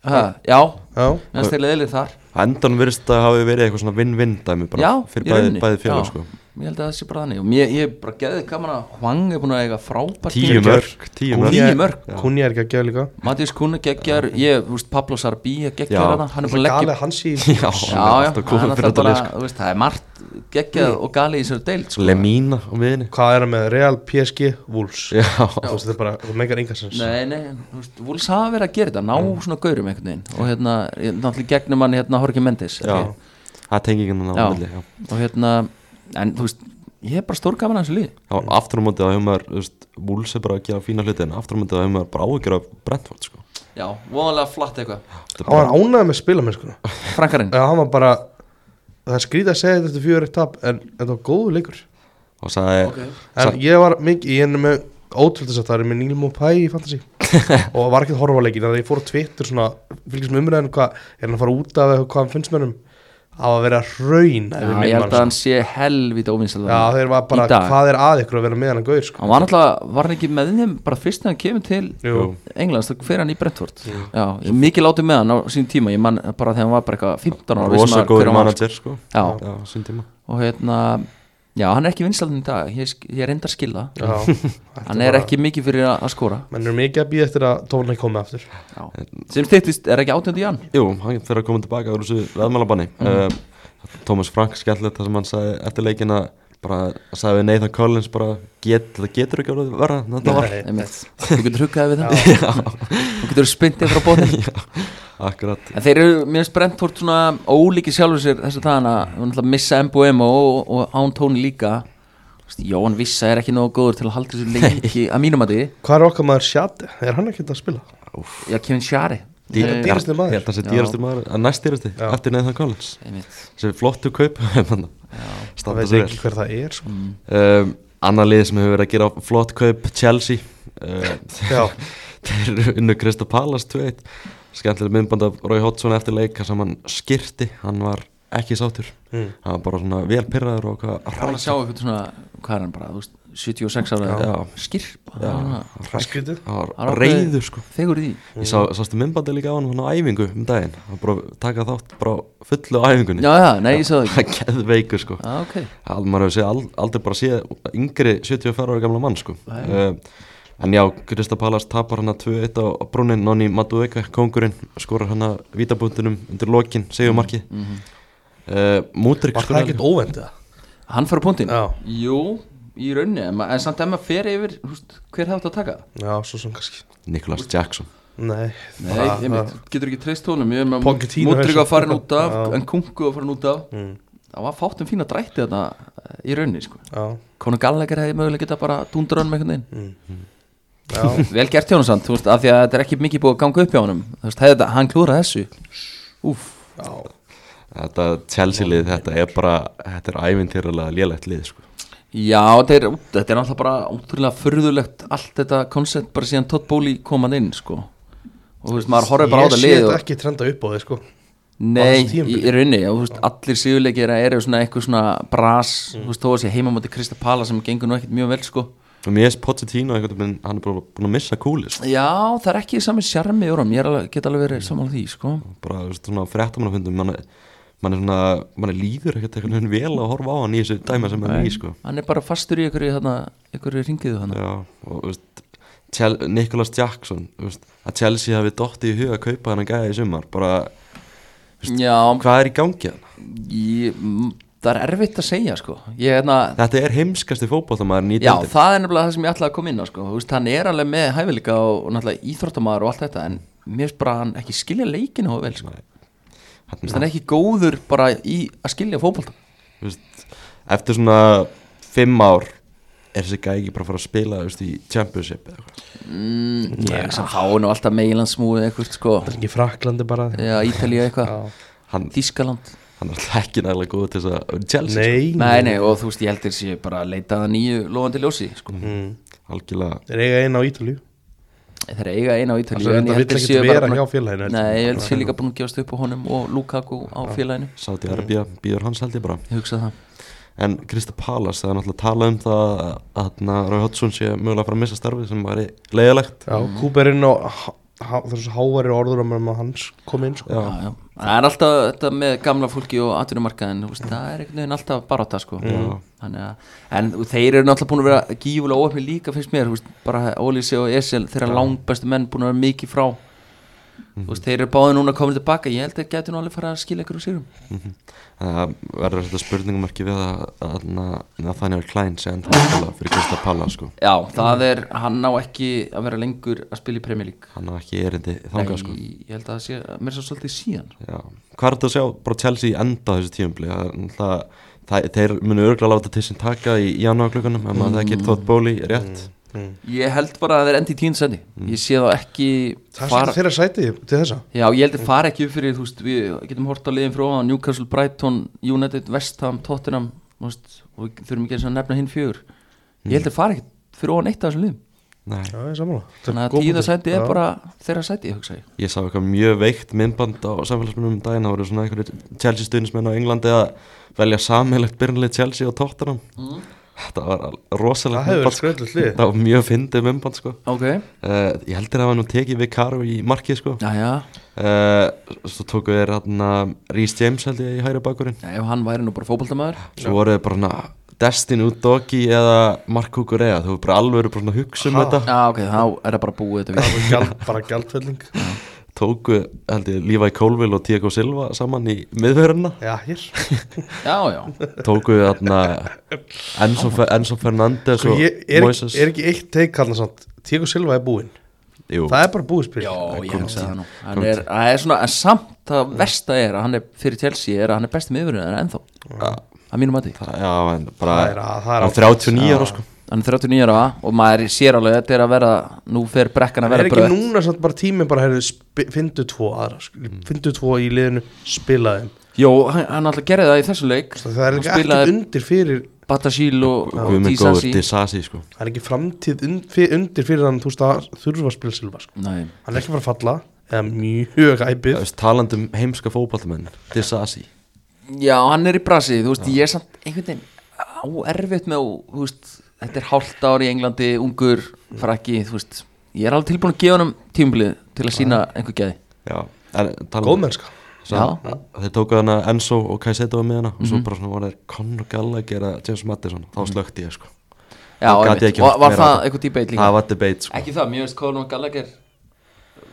C: ha, já,
B: Já
C: meðan þeir leðilið þar
A: Endan virðist að hafi verið eitthvað svona vinn-vinn dæmi bara
C: já,
A: fyrir
C: í
A: bæði,
C: rauninni,
A: bæði félag
C: já.
A: sko.
C: ég held að það sé bara þannig og mér, ég er bara geðið gaman að Hwang er búin að eiga frábært
A: Tíu
C: tímabil.
A: mörk, tíu
C: Hún-
A: mörk
C: Níu mörk.
B: Kunja er ekki að gefa líka
C: Matías Kuna geggjar, ég, þú veist, Pablo Sarbi
A: Já.
C: geggjar hana, hann er búin að
B: Galið
C: leggja
B: að hans í
A: Já,
C: já,
A: hann er
C: já,
A: alltaf
C: hann
A: góður
C: er
A: fyrir
C: það
A: þetta
C: bara,
A: lið sko.
C: þú veist, það er margt geggjað og galið í sér deilt sko.
A: Lemína á miðinni
C: (laughs)
B: Hvað er hann með? Real, PSG, Wolves
A: Já,
B: Þú veist, þetta er bara, það meikar enga sens
C: Nei, nei, þú veist, Wolves hafa verið að gera þetta, ná
A: Mm.
C: svona gaurum einhvern veginn og hérna, ég- náttúrulega gegnum hann hérna Jorge Mendes
A: já
C: ekki?
A: Það er tengingin hann á
C: Já.
A: milli já.
C: og hérna, en þú veist ég er bara stórgaman að þessu lið
A: Já, aftur á móti þá hefur maður, þú veist, Wolves er bara að gera fína hluti en aftur á móti þá hefur maður bara áhyggjur af Brentford sko.
C: Já, voðalega flatt eitthvað
A: Þetta er
B: Hann var ánægð með spilamennskuna
C: Frankarinn,
B: Já, hann var bara Það er skrítið að segja þetta eftir fjögur eitt tap En þetta var góðu leikur
A: og sagði
C: Ok.
B: En ég var mikið, ég er með ótrúlega satt Það er með Neil Mopay í
C: (laughs)
B: fantasy Og var ekki að horfa á leikin Þannig að ég fór á Twitter svona Fylgist með umræðinu hvað Er hann að fara út af eða hvað hann finnst um? með hann Á að vera raun
A: eh,
C: já, ég held að hann sko. sé helvita óvinnsal
B: sko. Já, þeir var
C: í
B: bara
C: dag.
B: Hvað er að ykkur að vera með hann að gauð sko?
C: Hann var náttúrulega, var hann ekki með þeim bara fyrst þegar hann kemur til
B: Jú,
C: Englands, þá fer hann í Brentford Já, ég er mikið látið með hann á sín tíma ég man bara þegar hann var bara eitthvað 15 ára vissi
A: rosa
C: maður hver
A: góður
C: hann var,
A: manager sko.
C: Já.
A: já sín tíma
C: sko. og hérna, já, hann er ekki vinsalinn í dag ég, sk- ég reyndar að skila það.
B: já Þetta
C: (laughs) hann er
B: bara-
C: ekki mikið fyrir að að skora
B: Menn eru mikið að býða eftir að tónleik komi aftur
C: já. sem styrtist, er ekki átjöndu í hann
A: Jú, hann fyrir að koma tilbaka úr þessu veðmálabanni
C: Mhm.
A: uh, Thomas Frank skellið það sem hann sagði eftir leikina bara sagði við Nathan Collins bara get, það getur ekki orðið verra en þetta var
B: Nei.
C: Einmitt. þú getur huggaði við það þú getur spyntið frá bóðin
A: Akkurat
C: En þeir eru, mér finnst Brentford svona ólíki sjálfur sér þess að það hana, hún ætla að missa MBM og, og, og án tóni líka Vist, Jóhann Vissa er ekki nógu góður til að halda þessu lengi að mínum að því
B: Hvað er okkar maður Sjate? Er hann ekkert að spila?
C: Já, Kevin Shari
A: Dý-
B: Líka
C: Eh,
A: Ég
B: dýrasti maður.
A: held að það sé
C: Já.
A: dýrastur maður að næst dýrasti,
B: Já.
A: eftir Nathan Collins
C: einmitt.
A: sem er flottu kaup (laughs)
B: Það
A: standa
B: veit
A: svo
B: ekki hver það er sko.
C: Mm.
A: vel um, annar lið sem hefur verið að gera flott kaup Chelsea uh,
B: Já,
C: (laughs)
A: þeir unnu Krista Palace 2-1 skemmtileg myndband af Rói Hotsson eftir leika sem hann skirti, hann var ekki sáttur
B: Mm.
A: hann var bara svona vel pyrraður og hvað
C: Ráðan að sjá eitthvað svona, hvað er hann bara, þú veist, 76 ára
A: Já.
C: Skirp,
A: Já.
C: hann var
B: skrítið
A: hann
C: hann var
A: var reyður sko
C: Þegur í því
A: ég sá, sástu myndbandi líka á hann hann á æfingu um daginn hann bara taka þátt bara á fullu á æfingunni (laughs)
C: Já, já, nei, ég sagði ekki
A: það geð veiku sko
C: Já, ok,
A: Al, maður hefur séð al, aldrei bara séð yngri 74 ára gamla mann sko uh, en já, Krista Palas tapar hann að 2-1 á á brúnin, Nonni Madueka kongurinn, skorar hann að vítabúndunum undir lokin, segjumarkið mm -hmm. uh, Mútrik
B: Mhm. Var það ekkert óvendið?
C: hann fyrir punktin
B: Já.
C: Jú, í rauninni, en, ma- en samt ef maður fer yfir, húst, hver hefði átt að taka það?
B: Já, svo sem kannski
A: Nikolas Jackson
B: Nei,
C: Nei, einmitt, getur ekki treyst honum Ég er með
B: Ah, Pochettino
C: Mútrík
B: hefur-
C: að farin út af,
B: Já.
C: en Kunku að farin út af Það var fátt um fína drætti þarna eh, í rauninni, sko
B: Já,
C: Konu Gallagher hefði mögulega geta bara dúndur honum einhvern veginn (laughs)
B: já,
C: Vel gert hjá honum samt, þú veist, af því að þetta er ekki mikið búið að ganga upp hjá honum Þú veist, hefði þetta, hann klúraði þessu Úf,
B: já
A: þetta Chelsea lið, þetta er bara þetta er ævintýralega lélegt lið sko.
C: já, þetta er, þetta er alltaf bara ótrúlega furðulegt Allt þetta koncept bara síðan Todd Bóli koman inn, sko Og þú veist, maður horfði bara á
B: Ég
C: þetta
B: sé
C: lið
B: þetta
C: og,
B: ekki trenda upp á þig sko
C: Nei,
B: þessu
C: í,
B: tímabili.
C: í rauninni, og, þú veist, allir sigurleikir eru svona eitthvað svona bras Þú veist, þó að sé heimamóti Krista Pala sem gengur nú ekkert mjög vel, sko
A: og mér er Pochettino einhvern veginn, hann er bara búin að missa kúli sko.
C: Já, það er ekki sami sjarmi í orðum, ég er alveg, get alveg verið sammála því, sko
A: bara þú veist, svona fréttamannafundum mann man er svona, mann er líður ekkert einhvern veginn vel að horfa á hann í þessu dæma sem hann er í sko.
C: Hann er bara fastur í ykkur, þarna, ykkur ringiðu þarna
A: Já, og þú veist Chel Nicholas Jackson þú veist, að Chelsea hafi dotti í huga að kaupa hann að gæja í sumar bara,
C: Já,
A: hvað er í gangi hann?
C: Ég, m- það er erfitt að segja sko ég, hefna,
A: Þetta er heimskasti fótboltamæðurinn í
C: Já,
A: deildinni.
C: það er nefnilega það sem ég ætlaði að koma inn á sko. Þú veist, Hann er alveg með hæfileika og, og náttúrulega íþróttamaður og allt þetta en mér finnst bara að hann ekki skilja leikinu og vel sko.
A: Nei.
C: Þú veist, Hann er ekki góður bara í að skilja fótbolta
A: Þú veist, eftir svona fimm ár er þessi gæja ekki bara að fara að spila þú veist, í championship eða eitthvað
C: mm, Ég sem fáin og alltaf meilandsmúið eitthvað sko.
B: Það er ekki fraklandi bara
C: Já, Ítalía eitthvað,
B: Já.
A: hann,
C: Þískaland
A: hann er alltaf ekki nægilega góð til þess að um Chelsea sko.
B: Nei,
C: sko. Nei, nei, og þú veist, ég heldur sér bara að leita að nýju lofandi ljósi sko.
B: Mm.
A: sko. algjörlega
B: Þeir eiga einn á Ítalíu
C: Þeir eiga eina á Ítalíu
B: Það er
C: en
B: þetta
C: ég held
B: vill
C: þeir
B: ekki
C: séu bara
B: vera
C: búin
B: hjá
C: að-
B: félaginu held ég.
C: Nei, ég held sér
B: hérna.
C: líka búin að gefast upp á honum og Lukaku á félaginu
A: Saudi Arabia býður hans held ég bara
C: Ég hugsa það
A: En Krista Palas, það er náttúrulega að tala um það að hérna, Rói Hotsson sé mögulega að fara að missa starfið sem væri leiðilegt
B: Já,
C: Mm.
B: Kúberinn og há- há- þessu háværi orður um að hans kom inn sko.
C: Já, já. Það er alltaf þetta með gamla fólki og atvinnumarkaðin, þú veist, það er einhvern veginn alltaf baráta sko. Þannig að, en þeir eru náttúrulega búin að vera gífulega óöfni líka finnst mér, þú veist, bara Ólísi og Esel þeirra langbæstu menn búin að vera mikið frá Þú veist, þeir eru báði núna komin tilbaka, ég held að þeir gæti nú alveg fara að skila ykkur úr sigurum
A: Þannig að Mhm. verður þetta spurningumarki við að, að, að Nathaniel Klein sé enda að spila fyrir Krista Palas sko.
C: Já, það er, hann ná ekki að vera lengur að spila í Premier League
A: Hann er ekki erindi þangað sko.
C: Nei, Ég held að það sé, mér er svo svolítið síðan
A: Já. Hvað er þetta að sjá bara Chelsea enda á þessu tíumbli? Það, það, þeir munu örgulega láta til sín taka í janúarklukkanum ef maður
B: Mm.
A: þekkir Todd Bóli rétt.
C: Ég held bara að þeir endi í tíunsendi Ég sé þá ekki
B: Það
C: fara-
B: er þeirra sæti til þessa
C: Já, ég held að fara ekki upp fyrir, þú veist, við getum hort á liðin frá ofan, Newcastle, Brighton, United, West Ham, Tottenham, þú veist, og við þurfum ekki eins og að nefna hinn fjögur. Ég held að fara ekki fyrir ofan eitt af þessum liðum.
A: Nei.
B: Já, ég er sammála Þetta er
C: Þannig að
B: góð
C: tíða
B: punktur.
C: sæti
B: Já.
C: er bara þeirra sæti, hugsa ég.
A: Ég sá eitthvað mjög veikt myndband á samfélagsmyndum um daginn, það voru svona einhverjir Chelsea stuðnismenn á Englandi að velja samheilegt byrjanlið Chelsea og Tottenham. Þetta var al- rosalegt
B: Mm. Það hefur verið
A: myndband, sko.
B: skröldlegt
C: (laughs)
A: Þetta
B: lið.
A: var mjög fyndið myndband sko.
C: Ok.
A: Uh, ég heldur að það var nú tekið við Karu í markið sko.
C: Já, já,
A: Uh, svo tóku þeir hérna Rhys James held ég í hægri bakurinn.
C: já, ef hann væri nú bara fótboltamaður.
A: Svo voru þeir bara svona Destin Udogi eða Mark Kukurea, þú voru bara alveg verið bara svona að hugsa um
B: Ha?
A: þetta.
C: Já, ok, þá er það bara búið þetta
B: Það
C: við.
B: var gjald, bara gjaldfelling
A: Tóku held ég Levi Colville og Diego Silva saman í miðverðina.
B: Já, hér
C: Já, já,
A: tóku við þarna Enzo, Fe- Enzo Fernandes
B: Sko,
A: og
B: ég, er,
A: Moises
B: er ekki eitt teik hann samt Tíko Silva er búinn
A: Jú,
B: Það er bara búið spil
C: já, ég
A: kom
C: hugsa
A: til.
C: það nú.
A: Kom
C: Hann er, það er svona, en samt það versta er að hann er fyrir Chelsea er að hann er besti miðurinn en ennþá.
A: að-
C: að mínum mati
A: það, já, en bara
B: Það er að- það er
A: hann
B: ágætis.
A: 39 ára
B: Já.
A: sko
C: hann er 39 ára og maður sér alveg að þetta er að vera nú fer brekkan að
B: Það er
C: vera
B: ekki
C: bröð
B: núna samt bara tími bara heyrðu, spi- Fyndu tvo aðra sko,
C: Mm.
B: Fyndu tvo í liðinu, spila þeim
C: Jó, hann, hann alltaf gerði það í þessum leik
B: Það er
C: Hann
B: ekki ekkert
C: spilaði
B: undir fyrir
C: Batasíl og, og
A: Guðmund góður
C: Dísasi
A: Disasi sko
B: Það er ekki framtíð und- fyr- undir fyrir hann Þú veist að þurfa að spila Silva sko.
C: Nei,
B: Hann er ekki bara að falla Eða mjög æpið
A: talandum um heimska fótballamenn Disasi
C: Já, hann er í brasi, þú veist, ég er samt einhvern veginn á erfitt með, að- þú veist, þetta er hálft ár í Englandi, ungur, frakki, þú veist, ég er alveg tilbúin að gefa honum tímbilið til að sína einhver geði.
A: já, en um
B: Góð
A: talandum
B: mennska
A: Sá,
C: Já. Mhm.
A: þeir tóku hana Enzo og Kaiseto með hana og svo bara svona var þeir Conor Gallagher að James Madison, þá slökti ég sko
C: Já,
A: Þá gat ég
C: einmitt.
A: ekki
C: og
A: haft
C: var
A: meira á
C: það
A: þetta.
C: eitthvað debate líka?
A: það var debate sko
C: Ekki það, mér veist Conor Gallagher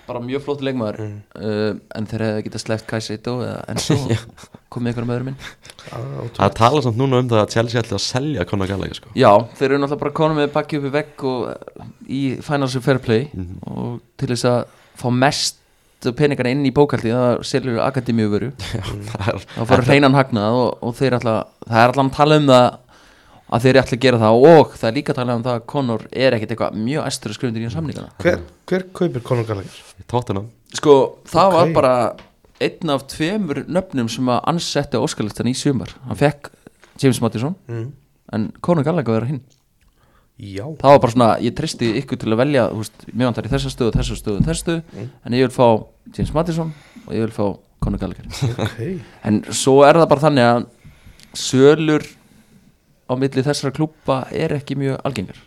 C: bara mjög flott leikmaður
A: Mm.
C: uh, en þeir hefði getað sleppt Kaiseito eða enn
A: (laughs)
C: svo komið ykkur með öðrum minn
A: það tala samt núna um það að Chelsea ætli að selja Conor Gallagher sko
C: Já, þeir eru náttúrulega bara konum með bakki upp í vegg og eh, í Financial Fair Play og til þess að fá mest peningana inn í bókaldi það selur akademíu veru
A: (laughs) það er
C: þá fara hreinan hagnað og, og þeir alltaf það er alltaf að tala um það að þeir ætla að gera það og það er líka að tala um það að Conor er ekkit eitthvað mjög æstur skrifundir í samlingana
B: Hver, hver kaupir Conor Gallagher?
A: tóttunum
C: Sko, það
B: Ok.
C: var bara einn af tveimur nöfnum sem að ansetti Óskarlistan í sumar Hann fekk James Madison
B: Mm.
C: en Conor Gallagher var hinn
B: Já
C: Það var bara svona, ég tristi ykkur til að velja þú veist, Mér vantar í þessa stöðu, þessa stöðu, þessa stöðu En ég vil fá James Madison og ég vil fá Conor Gallagher
B: okay.
C: En svo er það bara þannig að sölur á milli þessara klúpa er ekki mjög algengar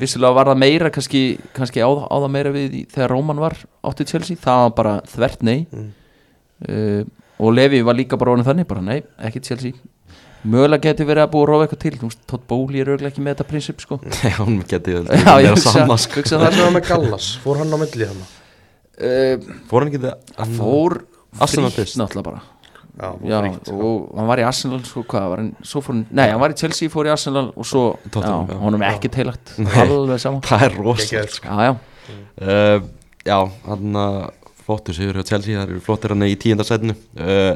C: Vissulega var það meira kannski, kannski á, á það meira við í, þegar Róman var áttið Chelsea, það var bara þvert nei
B: Mm.
C: uh, og Levi var líka bara orðin þannig, bara nei, ekki Chelsea mögulega geti verið að búa að rófa eitthvað til þú veist, Todd Bowley er auðvitað ekki með þetta prinsip sko.
A: Nei, hún geti
C: Já, ég
A: verið
C: hugsa,
A: sama sko
C: hugsa
B: Það
C: það
B: er svona með Gallas, fór hann á milli hann
C: uh,
A: fór hann ekki það
C: fór
A: Arsenal
C: frítt
A: fyrst.
C: náttúrulega bara
B: Já, fór
C: Já,
B: frítt.
C: og hann var í Arsenal sko, hvað, var hann, svo fór hann, nei, hann var í Chelsea fór í Arsenal og svo,
A: Tottenham,
C: já,
A: já.
C: honum er ekki teilagt alveg sama,
A: það er rosa
B: Gekkjaður, sko.
C: já, já
A: uh, já, hann að flottur sigur hjá Chelsea, það eru flottir hann í tíundarsætinu uh,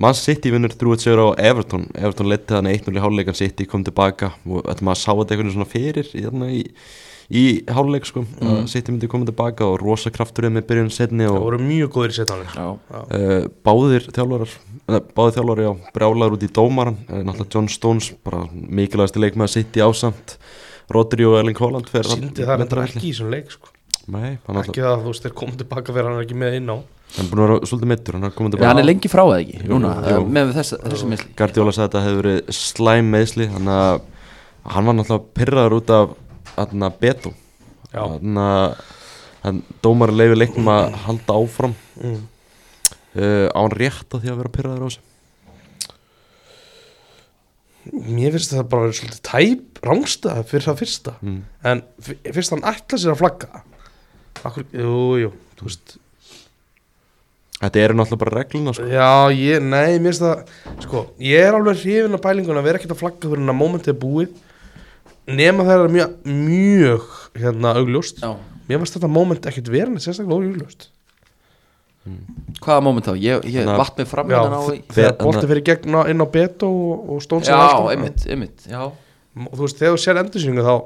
A: Man City vinnur þrjúið sigur á Everton Everton leti hann 1-0 í háluleikan City kom tilbaka og ætlum að sá þetta einhvern veginn svona fyrir í, þarna í, í háluleik sko. mm.
B: Mhm.
A: City myndi koma tilbaka og rosa krafturinn með byrjun setni
B: Það
A: og
B: sko. voru mjög góðir í setjánleik
C: Já,
A: Uh, báðir þjálfarar eh, báðir þjálfarar, já, brjálar út í dómaran uh, náttúrulega John Stones, bara mikilvægasti leikmaður sitt í ásamt Rodri og Erling Haaland fer þarna-
B: Sýndi það reyndar
A: reyndar
B: ekki í svona leik sko.
A: Nei, hann er
B: Ekki það að þú veist, þeir komið tilbaka fyrir hann er ekki með inn á
A: búin að vera svolítið mittur hann er komið
C: Já, hann er
A: tilbaka
C: lengi frá það ekki, núna,
A: jú.
C: jú. með þess, þessu misli
A: Gardiola sagði að þetta hefur verið slæm meðsli hann, að, hann var náttúrulega pyrraður út af hann að betu
B: Já.
A: hann að dómar leiði leiknum að halda áfram
B: mm.
A: uh, á hann rétt á því að vera pyrraður á þessu
B: Mér finnst það bara að vera svolítið tæp rángstað fyrir það fyrsta
A: Mm.
B: en fyr- fyrst hann ætla sér að flagga Akkur, jú, jú, þú veist
A: Þetta eru náttúrulega bara regluna sko.
B: Já, ég, nei, mér finnst það sko, ég er alveg hrifin af pælingun að vera ekkert að flagga fyrir hann að momentið er búið nema það er mjög, mjög hérna, augljóst
C: Já.
B: Mér finnst þetta moment ekkert vera neitt sérstaklega augljóst
C: Hvaða moment þá, ég, ég
A: Þannig að-
C: vatn mig fram
B: Já,
C: hérna á í
B: þ- þegar
A: Þegar-
B: boltið fyrir gegn á- inn á Beto og, og Stóns
C: Já, einmitt, einmitt, já
B: Þú veist, þegar þú sér endursýningu þá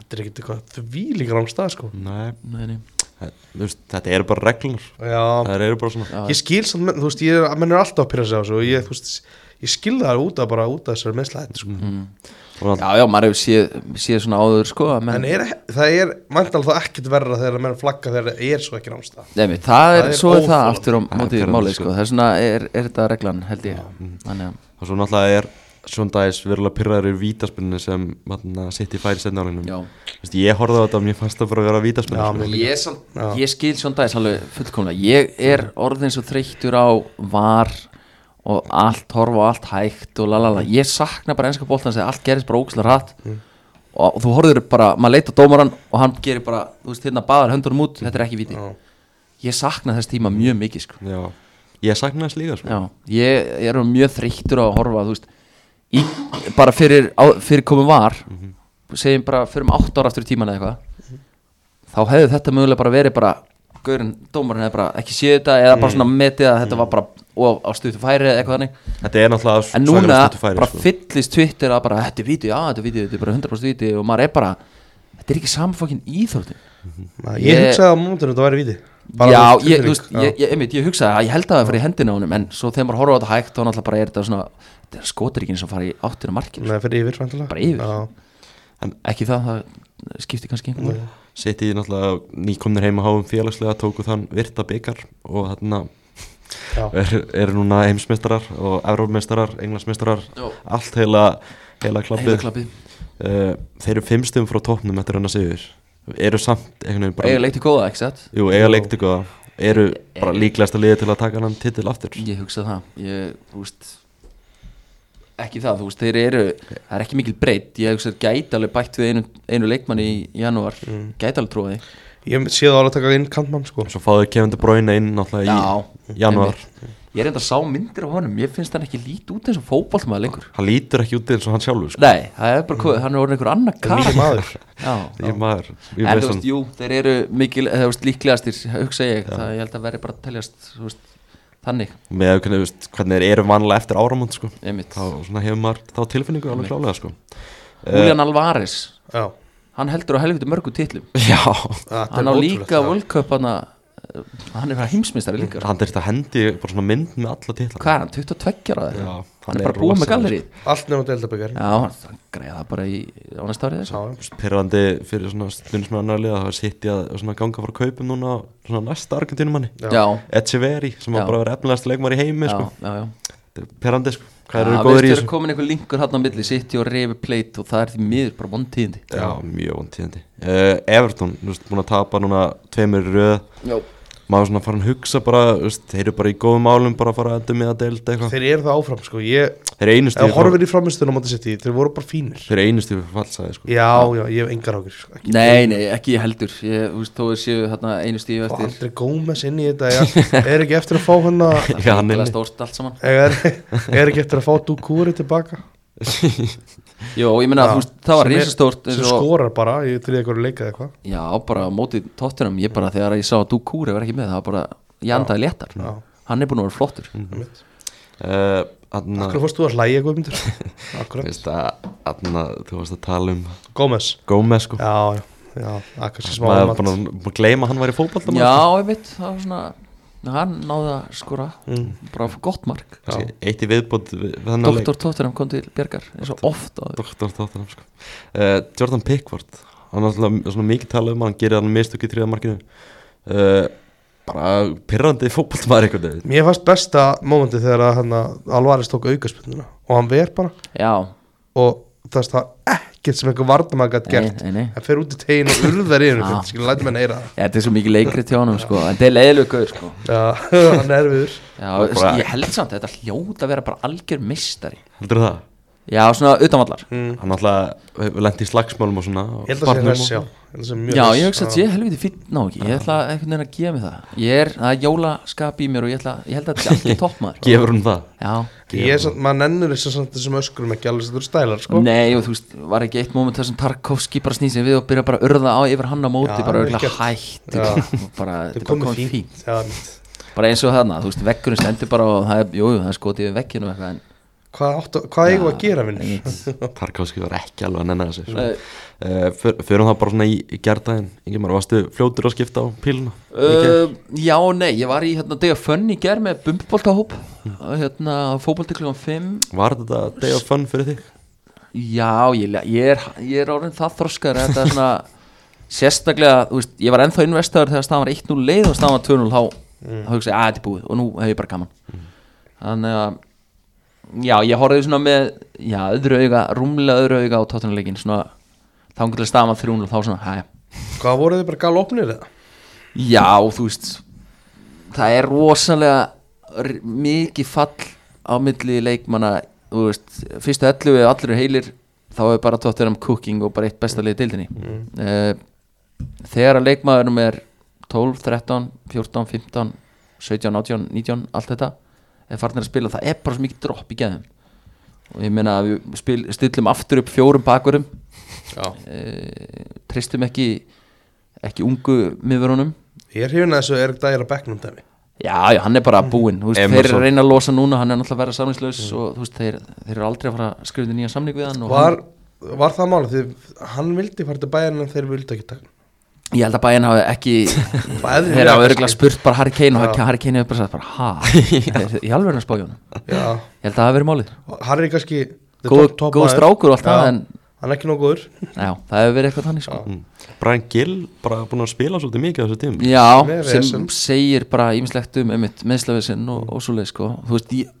B: þetta er ekkert eitthvað þvílík rángstað sko
A: Nei,
C: Nei, nei.
A: það- þú veist, þetta eru bara reglunar
B: Já,
A: Það eru bara svona
C: Já,
B: ég skil samt, menn- þú veist, ég er, menn er alltaf að pyrra sig á þessu og ég, þú veist, ég skil það út af bara út af þessari meðslæði, sko.
C: Mhm.
A: Og
C: já, já, maður hefur séð, séð svona áður sko að menn,
B: En er, það er, mæntal það ekkert verra þegar menn flagga þegar það er svo ekki námstað.
C: nei, nei, það er,
B: það er
C: svo er það
B: óþolandi.
C: aftur á
A: er
C: móti
A: pirrandi,
C: málið
A: sko.
C: sko, það er svona, er, er þetta reglan held ég, þannig að
A: og svo náttúrulega er Sjóndæs verulega pyrraður í vítaspinnu sem manna, City fær í setna
C: Já.
A: áleginum Ég horfði á þetta og mér fannst það bara að vera vítaspinnu
B: Já,
A: sko.
B: mér-
C: ég, samt,
B: Já.
C: ég skil svona dagis alveg fullkomlega ég er orðin svo þreyttur á var og allt horfa og allt hægt og lalala ég sakna bara ennska bóltans eða allt gerist bara ógislega hratt og, þú horfður bara, maður leita dómaran og hann gerir bara, þú veist hérna baðar höndunum út, þetta er ekki viti
B: Já.
C: ég sakna þess tíma mjög mikið sko.
A: Já. Ég sakna þess líka sko.
C: Já, ég, ég er mjög þreyttur á að horfa þú veist, í, bara fyrir, á, fyrir komum var segjum bara fyrir um 8 ára aftur í tíman eða eitthvað þá
A: Mm.
C: hefði þetta mögulega bara verið bara gaurinn, dómarinn hefði bara ekki séð þetta eða bara svona metið að þetta var bara og á, á stuttu færi eða eitthvað þannig
A: Þetta er náttúrulega
C: en
A: svakalega
C: núna
A: stuttur færi,
C: bara
A: sko.
C: fyllist Twitter að bara þetta er víti, já þetta er víti, þetta er bara 100% víti og maður er bara, þetta er ekki samfokkin íþróttin
A: Mhm.
B: Ég, ég
C: Ég-
B: hugsaði á mómentinu þetta væri víti
C: já,
B: bara
C: ég, þú veist,
B: tilfinning, já.
C: ég, ég, einmitt, ég hugsaði að ég held að það fyrir hendina á honum en svo þegar maður horfa á þetta hægt þá náttúrulega bara er þetta svona þetta er skotiríkin sem fara í áttina markinu
B: Nei, fyrir yfir vantilega
C: Bara yfir.
B: Já,
C: ekki það, það skipti kannski einhvern veginn
A: Sitt í náttúrulega nýkomnir heima háum félagslega tóku þann virta byggar og þarna
B: já.
A: eru er núna heimsmeistarar og evrópmeistarar, englandsmeistarar
C: Já.
A: allt heila, heila klappið
C: heila klappið,
A: uh, Þeir eru fimmstum frá toppnum eftir hennar sigur eru samt einhvern veginn bara
C: eiga leikt í góða, ekki satt?
A: Jú, eiga leikt ykkur eru bara
C: Eh.
A: líklegasta liði til að taka hann titil aftur
C: Ég hugsa það Ég, þú veist Ekki það, þú veist, þeir eru Það er ekki mikil breytt, ég hugsa þeir gæti alveg bætt við einu, einu leikmanni í janúar mm. Gæti alveg tróði
B: Ég sé það alveg að taka inn kantmann sko
A: Svo fáðu Kevin De Bruyne inn náttúrulega í januar
C: Ég er enda sá myndir af honum, ég finnst hann ekki lít út eins og fótboltmaður lengur
A: Hann lítur ekki út eins og hann sjálfur sko.
C: Nei, það er bara, mm. hann er orðin einhver annar
B: Þetta er
C: kar
B: Nýr maður
C: Já
A: Ég maður, ég
C: En
A: veist
C: þú
A: hann
C: veist, jú, þeir eru mikil, þú veist, líklegastir, hugsa ég, það ég held að veri bara að teljast, þú veist, þannig,
A: með hvernig, þú veist, hvernig þeir eru vanlega eftir áramónd sko.
C: einmitt.
A: þá svona, hefur maður þá tilfinningu alveg klálega sko.
C: Julian Alvarez,
B: Já,
C: hann heldur á helviti mörgu titlum.
A: Eh, Já,
B: þetta
C: hann
B: er
C: á
B: ótrúlegt,
C: líka
B: já.
C: World Cup hana, uh, hann er heimsmeistari líka sko.
A: hann þurfti að hendi bara svona mynd með alla titla
C: hvað er hann, 22 ára
A: Já,
C: það hann,
A: hann
C: er
A: er
C: bara búið með
A: rosalega,
C: galleri
B: Allt nefnum deildabikar
C: já, hann hann greiði það bara í á næsta árið
B: Já,
C: sko.
B: já.
A: Pyrrandi fyrir svona stundins með annar liða það var sitt í að svona, ganga frá kaupum núna á svona næsta Argentínumanni
B: Já.
C: já,
A: Echeveri sem
C: Já.
A: var bara að vera efnilegast leikmar í heimi
C: já,
A: sko.
C: já, já.
A: Pyrrandi, sko. hvað
C: Já,
A: eru góður í
C: veistu, er
A: þessu?
C: komin einhver linkur hann á milli City og Revi Plate og það er því miður bara vond tíðindi
A: Já, mjög vond tíðandi uh, Everton, þú veist, búin að tapa núna tveimur í röð
C: já,
A: maður svona farin að hugsa bara, þú veist, þeir eru bara í góðum álum bara að fara að dömið að delta eitthvað
B: Þeir eru það áfram sko Ég,
A: Þeir eru einu
B: ef
A: stíð
B: horfir í framistunum á móti sitt Þeir voru bara fínir
A: sko. Þeir eru einu stíð fyrir fallsaði sko.
B: Já, já, ég hef engar ákjör sko. Ekki-
C: nei, nei, ekki ég heldur ég, þú veist, þó er séu hérna einu stíu
B: Og
C: eftir
B: Andri Gómez inn í
C: (laughs)
B: þetta já. Er ekki eftir að fá hann að
A: (laughs) Já, hann er
C: Glæst stórt allt saman
B: er, er ekki eftir að fá Dukúri tilbaka
C: Jó, ég meina,
B: Já.
C: þú veist, það var
B: Sem er-
C: reysastórt
B: sem sko- skorar bara í til eitthvað leika eða eitthvað
C: Já, bara á móti tóttunum Ég bara, þegar ég sá að þú kúri var ekki með Það var bara, ég andaði léttar
B: Já. Mm.
C: Hann er búin að vera flottur
B: Akkur
A: uh, Anna,
B: fórst þú að hlæja
C: (laughs)
B: Guðmundur Akkurat
A: veist, að, anna, þú varst að tala um
B: Gómez
A: Gómez sko
B: Já, já, já Akkur sem smá
A: maður er
B: mat.
A: búin að búin að gleyma að hann sko. var í fótballta
C: Já, ég veit, það var svona Hann náði að skora
B: Mm.
C: Bara fyrir gott mark
A: eitt í viðbót við, við þennan leik
C: Doktor Tóttunum kom til Bjargar eins og oft á
A: Doktor Tottenham sko. uh, Jordan Pickford hann er alltaf svona mikið talað um hann gerir hann mistök í þriðamarkinu uh, bara pyrrandi fótballtamaður einhvern veginn
B: Mér fannst besta mómenti þegar að hann Alvaris tók aukaspunduna og hann ver bara
C: Já,
B: og það er það ekkert sem einhver varnamæg gætt gert
C: nei, nei, nei.
B: hann fer út í tegin og urðar í hennu skil, lætum henn heyra
C: Ja, þetta er svo mikið leikrið til honum sko En þetta er leiðilegu gauður sko
B: það já, (laughs) hann er viður
C: Já,
A: bara-
C: Ég held samt að þetta hljóta að vera bara algjör mistari
A: heldur það?
C: Já, svona utanvallar
A: hann alltaf lendi í slagsmálum og svona
B: ég held að sé hress, já Ég held að sé mjög
C: Já,
B: hress.
C: ég hugsa að ég er helviti fýtt ná ekki Ég ætla einhvern veginn að gefa mig það Ég er, það er jólaskap í mér og ég, ætla, ég held að þetta
B: (laughs)
C: er allir toppmaður
A: gefur hún það
C: Já,
B: ég er samt, maður nennur þess að samt þessum öskurum ekki alveg sem þú eru stælar sko
C: Nei, og þú veist, var ekki eitt moment þar sem Tarkovski bara snýsi við og byrja bara að urða á yfir hann á móti,
B: Já,
C: bara
B: vel
C: örgulega
B: gert.
C: hætt
B: Já.
C: og (laughs) bara,
B: þetta er
C: bara
B: komið
C: komið fín
B: fínt já, mitt.
C: bara eins og þarna, þú veist, vekkurinn stendur bara og það er, jú, jú, það er skotið við vekkinu eitthvað en,
B: hvað, áttu, hvað eigum við að gera vinnur (laughs)
C: einmitt.
A: Tarkovski var ekki alveg að nenna þessu
C: Nei.
A: uh, Förum það bara svona í, í gerðdæðin Ingemar, varstu fljótur að skipta á píluna?
C: uh, Já, og nei, ég var í hérna dega fönn í ger með bumbiboltahóp hérna, fótbolti klukkan 5
A: Var þetta day of fun fyrir þig?
C: Já, ég, le- ég er, ég er orðin það þroskar þetta er svona sérstaklega, þú veist, ég var ennþá investaður þegar staðan var 1-0 leið og staðan var 2-0 þá, þá hugsa ég að þetta er búið og nú hef ég bara gaman þannig að já, ég horfði svona með já, öðru auga, rúmlega öðru auga á tóttunarleikin svona, þá einhverjulega staðan var 3-0 þá svona, hæja,
B: hvað voruð þið bara galopnir eða
C: já, þú veist það er rosalega r- mikið fall á milli leikmanna, þú veist fyrstu 11 ef allir eru heilir þá er bara tóttunum cooking og bara eitt besta liðið deildinni mm. þegar að leikmaðurum er 12, 13, 14, 15 17, 18, 19, allt þetta er farnir að spila, það er bara svo mikið dropp í geðum og ég meina að við spil, stillum aftur upp fjórum bakurum
B: já.
C: uh, tristum ekki ekki ungu miðverunum
B: ég er hrifin að þessu er dægir að bekknum dæmi
C: Já, já, hann er
B: Mm.
C: bara búinn þú veist,
A: Emerson.
C: Þeir eru að reyna að losa núna, hann er náttúrulega að vera samlingslaus og þú veist, þeir, þeir eru aldrei að fara að skrifa undir nýja samling við hann og
B: var, var það málið því hann vildi fara til bæjan en þeir vildi ekki taka
C: hann, Ég held að bæinn hafi ekki
B: (laughs) Bæði
C: Þeir hafa örgulega spurt bara Harry Kane og
B: Já.
C: Harry Kane hefur bara sagt bara,
B: (laughs)
C: ha, ég alveg er að spája hann
B: já,
C: Ég held að það hafi verið
B: (laughs)
C: málið
B: Harry er kannski þetta er
C: Góð,
B: topp- topp
C: góð
B: maður.
C: strákur og allt
B: Já,
C: það, en
B: hann er ekki nóg góður
C: já, það hefur verið eitthvað þannig sko.
A: Mm. Brian Gill bara búin að spila svolítið mikið á þessu tímum
C: Já,
B: Með
C: sem
B: vesen.
C: segir bara ímislegt um einmitt meðslavisinn og, og svoleið sko Þú veist, ég,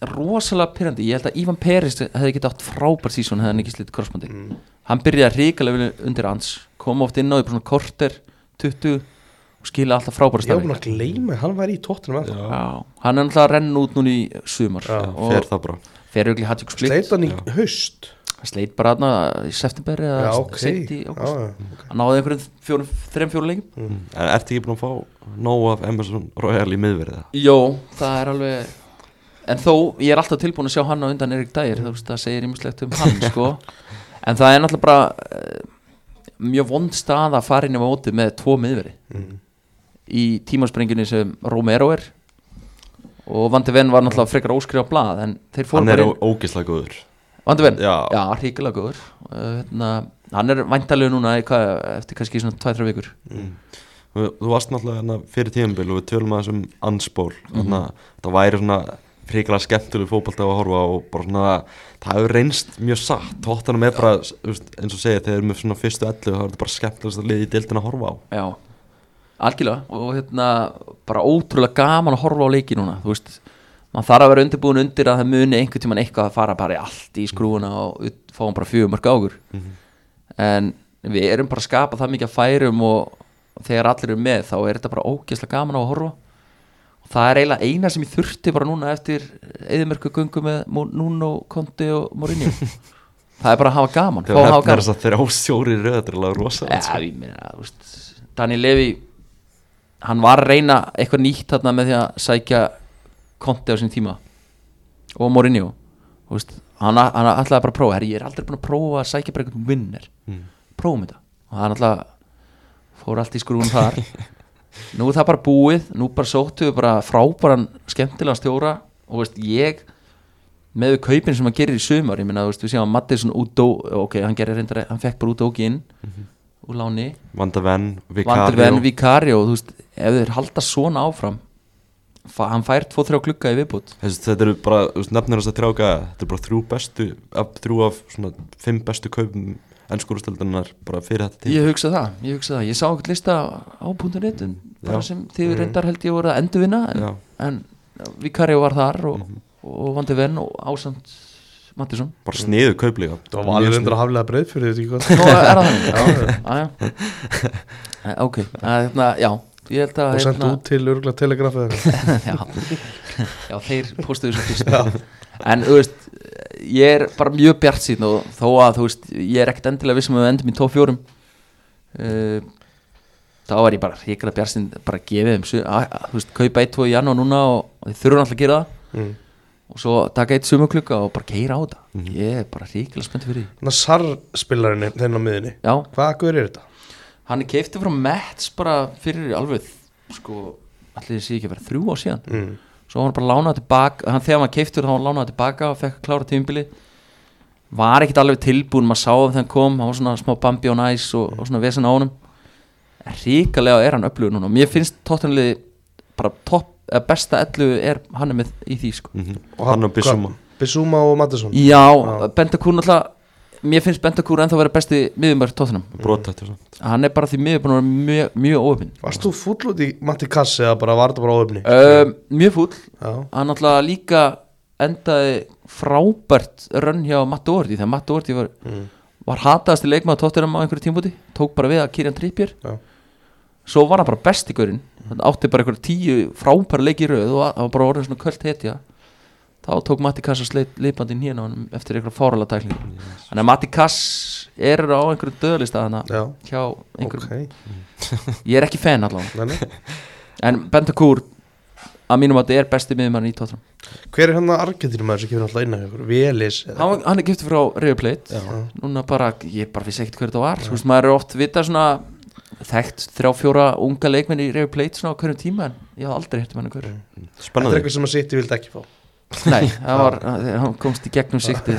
C: rosalega pyrrandi Ég held að Ivan Peris hefði getið átt frábær sísón hefði hann ekki slítið krossbandi
B: Mm.
C: Hann byrjaði ríkalega vel undir hans kom oft inn á því bara svona korter 20 og skila alltaf frábæra
B: ég var búin
C: stafi
B: að gleyma, hann var í tóttunum ennþá
C: Já, hann er náttúrulega að renna út núna í sumar
B: Já,
A: fer
C: og
A: það bara
C: fer auðvitað í Hattík Split
B: sleit hann í haust
C: sleit bara aðna í september eða
B: já, ok
C: seint í
B: Já,
C: águst
B: já.
C: Hann náði einhverjum fjórum, þrem fjórum leikum
B: Mm.
A: En Mm. ertu ekki búin að fá nóg af Emerson Royal í miðverðið?
C: Jó, það er alveg En þó, ég er alltaf tilbúin að sjá hann á undan Erik Dægir Þú veist, það segir ýmislegt um hann, sko En það er náttúrulega bara eh, Mjög vond stað að fara inn á móti með tvo miðveri
A: Mm.
C: Í tímaspringinu sem Romero er Og Vandi Venn var náttúrulega frekar óskrifa blað En þeir fóru
A: Hann er
C: bara inn
A: ógislega góður
C: Vandi Venn,
A: Já.
C: já hríkilega góður uh, hérna, Hann er væntalegu núna í, hvað, eftir kannski svona 2-3 vikur
A: Þú þú varst náttúrulega hérna fyrir tíðanbíl og við tölum aðeins um anspól þannig
C: Mhm.
A: að það væri svona fríkilega skemmtileg fótbolta að horfa og bara svona það hefur reynst mjög satt tóttanum er bara, þú veist, eins og segja þegar við erum með svona fyrstu ellu þá er þetta bara skemmtilegast að liði í dildin að horfa á
C: Já, algjörlega og hérna bara ótrúlega gaman að horfa á leiki núna þú veist, mann þarf að vera undirbúin undir að það muni einhvern tíman eitthvað að fara bara í allt í skrúuna og ut- fáum bara fjögur mörg águr en við erum bara að skapa það mikið að færum og, og þegar allir eru með þá er þetta bara ógeðslega gaman á að horfa og það er eiginlega eina sem ég þurfti bara núna eftir eðimörku gungu með Mo- Nuno, Conte og Mourinho það er bara að hafa gaman, fá
A: þegar
C: að hafa
A: hefnir
C: gaman
A: þess að þeirra ástjóri röð þetta er alveg sko. rosa
C: Já, ég meina, þú veist Daniel Levy hann var að reyna eitthvað nýtt þarna með því að sækja konti á sín tíma og Mourinho þú veist, hann, hann ætlaði bara að prófa herri, ég er aldrei búin að prófa að sækja bara einhvern vinner
A: Mm.
C: prófum þetta og hann alltaf fór allt í skrúin þar nú er það bara búið nú bara sóttu við bara frábæran skemmtilegan stjóra og þú veist, ég með við kaupin sem hann gerir í sumar ég meina, þú veist, við séum að Mattisson út ok, hann gerir reyndar, hann fekk bara út og inn úr láni,
A: Vanda Venn,
C: vandur venn
A: Vikario
C: Vicario, þú veist, ef þeir halda svona áfram fa- hann fær 2-3 glugga í viðbútt
A: Þessi, þetta eru bara, þú veist, nefnir þess að trjáka þetta eru bara þrjú bestu, af, þrjú af svona fimm bestu kaupum ennskúrusteldunar bara fyrir þetta tíma
C: ég hugsa það, ég hugsa það, ég sá eitthvað lista á .net um, bara
A: Mm, Já.
C: sem þið reyndar held ég voru að endurvinna en,
A: Já. Mhm.
C: en Vicario var þar og, og vandur venn og ásamt
A: (laughs)
C: Mattisson
A: bara sniðu kauplega
B: það var alveg undir að haflega breið fyrir sko. þetta
C: Nú er það þannig Jæja. Ah, Eh, Ok, að, hérna, já Ég held að
B: og sendt
C: hérna-
B: út til örgulega telegrafið
C: (laughs) já, já, þeir postuðu svo fyrst En þú veist, ég er bara mjög bjart síðan og þó að þú veist, ég er ekkert endilega vissum að við endum í top fjórum uh, Þá er ég bara hrikalega bjart síðan bara að gefa þeim, su- að- að, þú veist, kaupa 1-2 í janúar núna og, og þeir þurfa alltaf að gera það
B: Mm.
C: og svo taka eitt sumaklukka og bara keira á þetta Ég er bara hrikalega spennt fyrir því
B: Hérna sarspilarinn þennan hérna á miðinni
C: Já,
B: hvað guður er þetta?
C: hann er keiftið frá Mets bara fyrir alveg sko, allir sé ekki að vera þrjú á síðan
B: Mm.
C: svo var hann bara lánað tilbaka hann, þegar hann keiftur þá var hann lánað tilbaka og fekk að klára tímbili var ekkert alveg tilbúin maður sá það þegar hann kom, hann var svona smá bambi og næs og, og svona vesen á honum En hrikalega er hann upplöðu núna og mér finnst tóttunlega bara top, eða besta ellu er hann er með í því sko
A: og Mhm. hann og Bissuma
B: Bissúma og Mattisson
C: já, Bendakúr náttúrulega mér finnst Bendakúr ennþá vera besti miðjumar tóttunum,
A: brotættur samt
C: hann er bara því miðjumar búin að vera mjög, mjög óöfinn
B: varst þú fúll út í Matti Kass eða bara var þetta bara óöfni?
C: um, mjög fúll
B: já
C: hann náttúrulega líka endaði frábært rönn hjá Matt Doherty þegar Matt Doherty var,
B: Mm.
C: var hataðasti leikmaður tóttunum á einhverju tímbúti tók bara við að Kieran Trippier
B: Já.
C: svo var hann bara besti gaurinn hann átti bara einhverju tíu frábæra leik í röð og hann var bara orðin svona kvöld hetja þá tók Matti Kass að sleit lipandi inn hérna á honum eftir einhverja fárala tækling þannig að Matti Kass er á einhverju döðlista hana
B: já
C: hjá einhverjum
B: ok
C: ég er ekki fan
B: Nei,
C: allavega
B: nei.
C: en Bendakúr að mínum að þetta er besti miðjumann í tóttunum
B: hver er hann að argetinum maður sem kemur alltaf inn af ykkur? Vélis eða-
C: hann, hann er giftið frá River Plate núna bara, ég bara vissi ekkert hver þetta var þú veist, maður er oft vita svona þekkt þrjá fjóra unga leikmenn í River Plate svona á hverjum tíma en ég haf aldrei hértum hann hver
B: Þetta er
A: Spennandi
B: eitthvað sem að City vildi ekki fá
C: Nei, það var, hann komst í gegnum sikti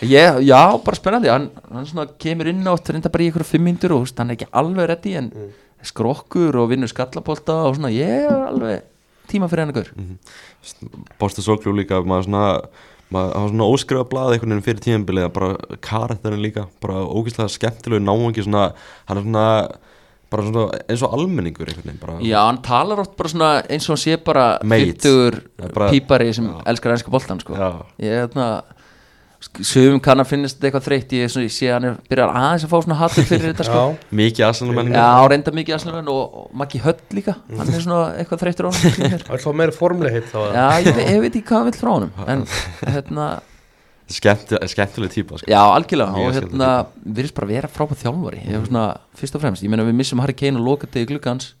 C: ég, Já, bara spennandi hann, hann svona kemur inn átt reynda bara í ykkur fimm myndur og þú veist, hann er ekki alveg reddi en
B: Mm.
C: skrokkur og vinnur skallapolta og svona, ég er alveg tíma fyrir hann hver
A: Bósta Soglu líka maður svona maður hafa svona óskrifa blað einhvern veginn fyrir tíðanbilið bara karakterin líka bara ógeðslega skemmtilegu náungi svona hann er svona bara svona eins og almenningur einhvern veginn bara
C: Já, hann talar oft bara svona eins og hann sé bara
A: Mate.
C: fyrtugur
A: Já, bara-
C: pípari sem
A: Já.
C: elskar ennska boltan sko.
A: Já.
C: ég er þarna sumum kann að finnast þetta eitthvað þreytt ég, er svona, ég sé að hann er, byrjar aðeins að fá svona hattur fyrir þetta sko.
B: Já,
A: mikið aðsennamenningur
C: Já, reynda mikið aðslumenn og, og Maggi Höll líka hann er svona eitthvað þreyttur á hann
A: (laughs)
B: það vil fá meira formlega hitt þá eða?
C: Já, ég, ve- ég veit ekki hvað hann vil frá honum en hérna,
A: Skemmt, skemmtileg típa sko.
C: já, algjörlega
A: Mjög
C: og
A: skemmtileg
C: hérna, virðist bara vera frábæð þjálfari ég hef svona, fyrst og fremst, ég meina við missum Harry Kane og loka degi gluggans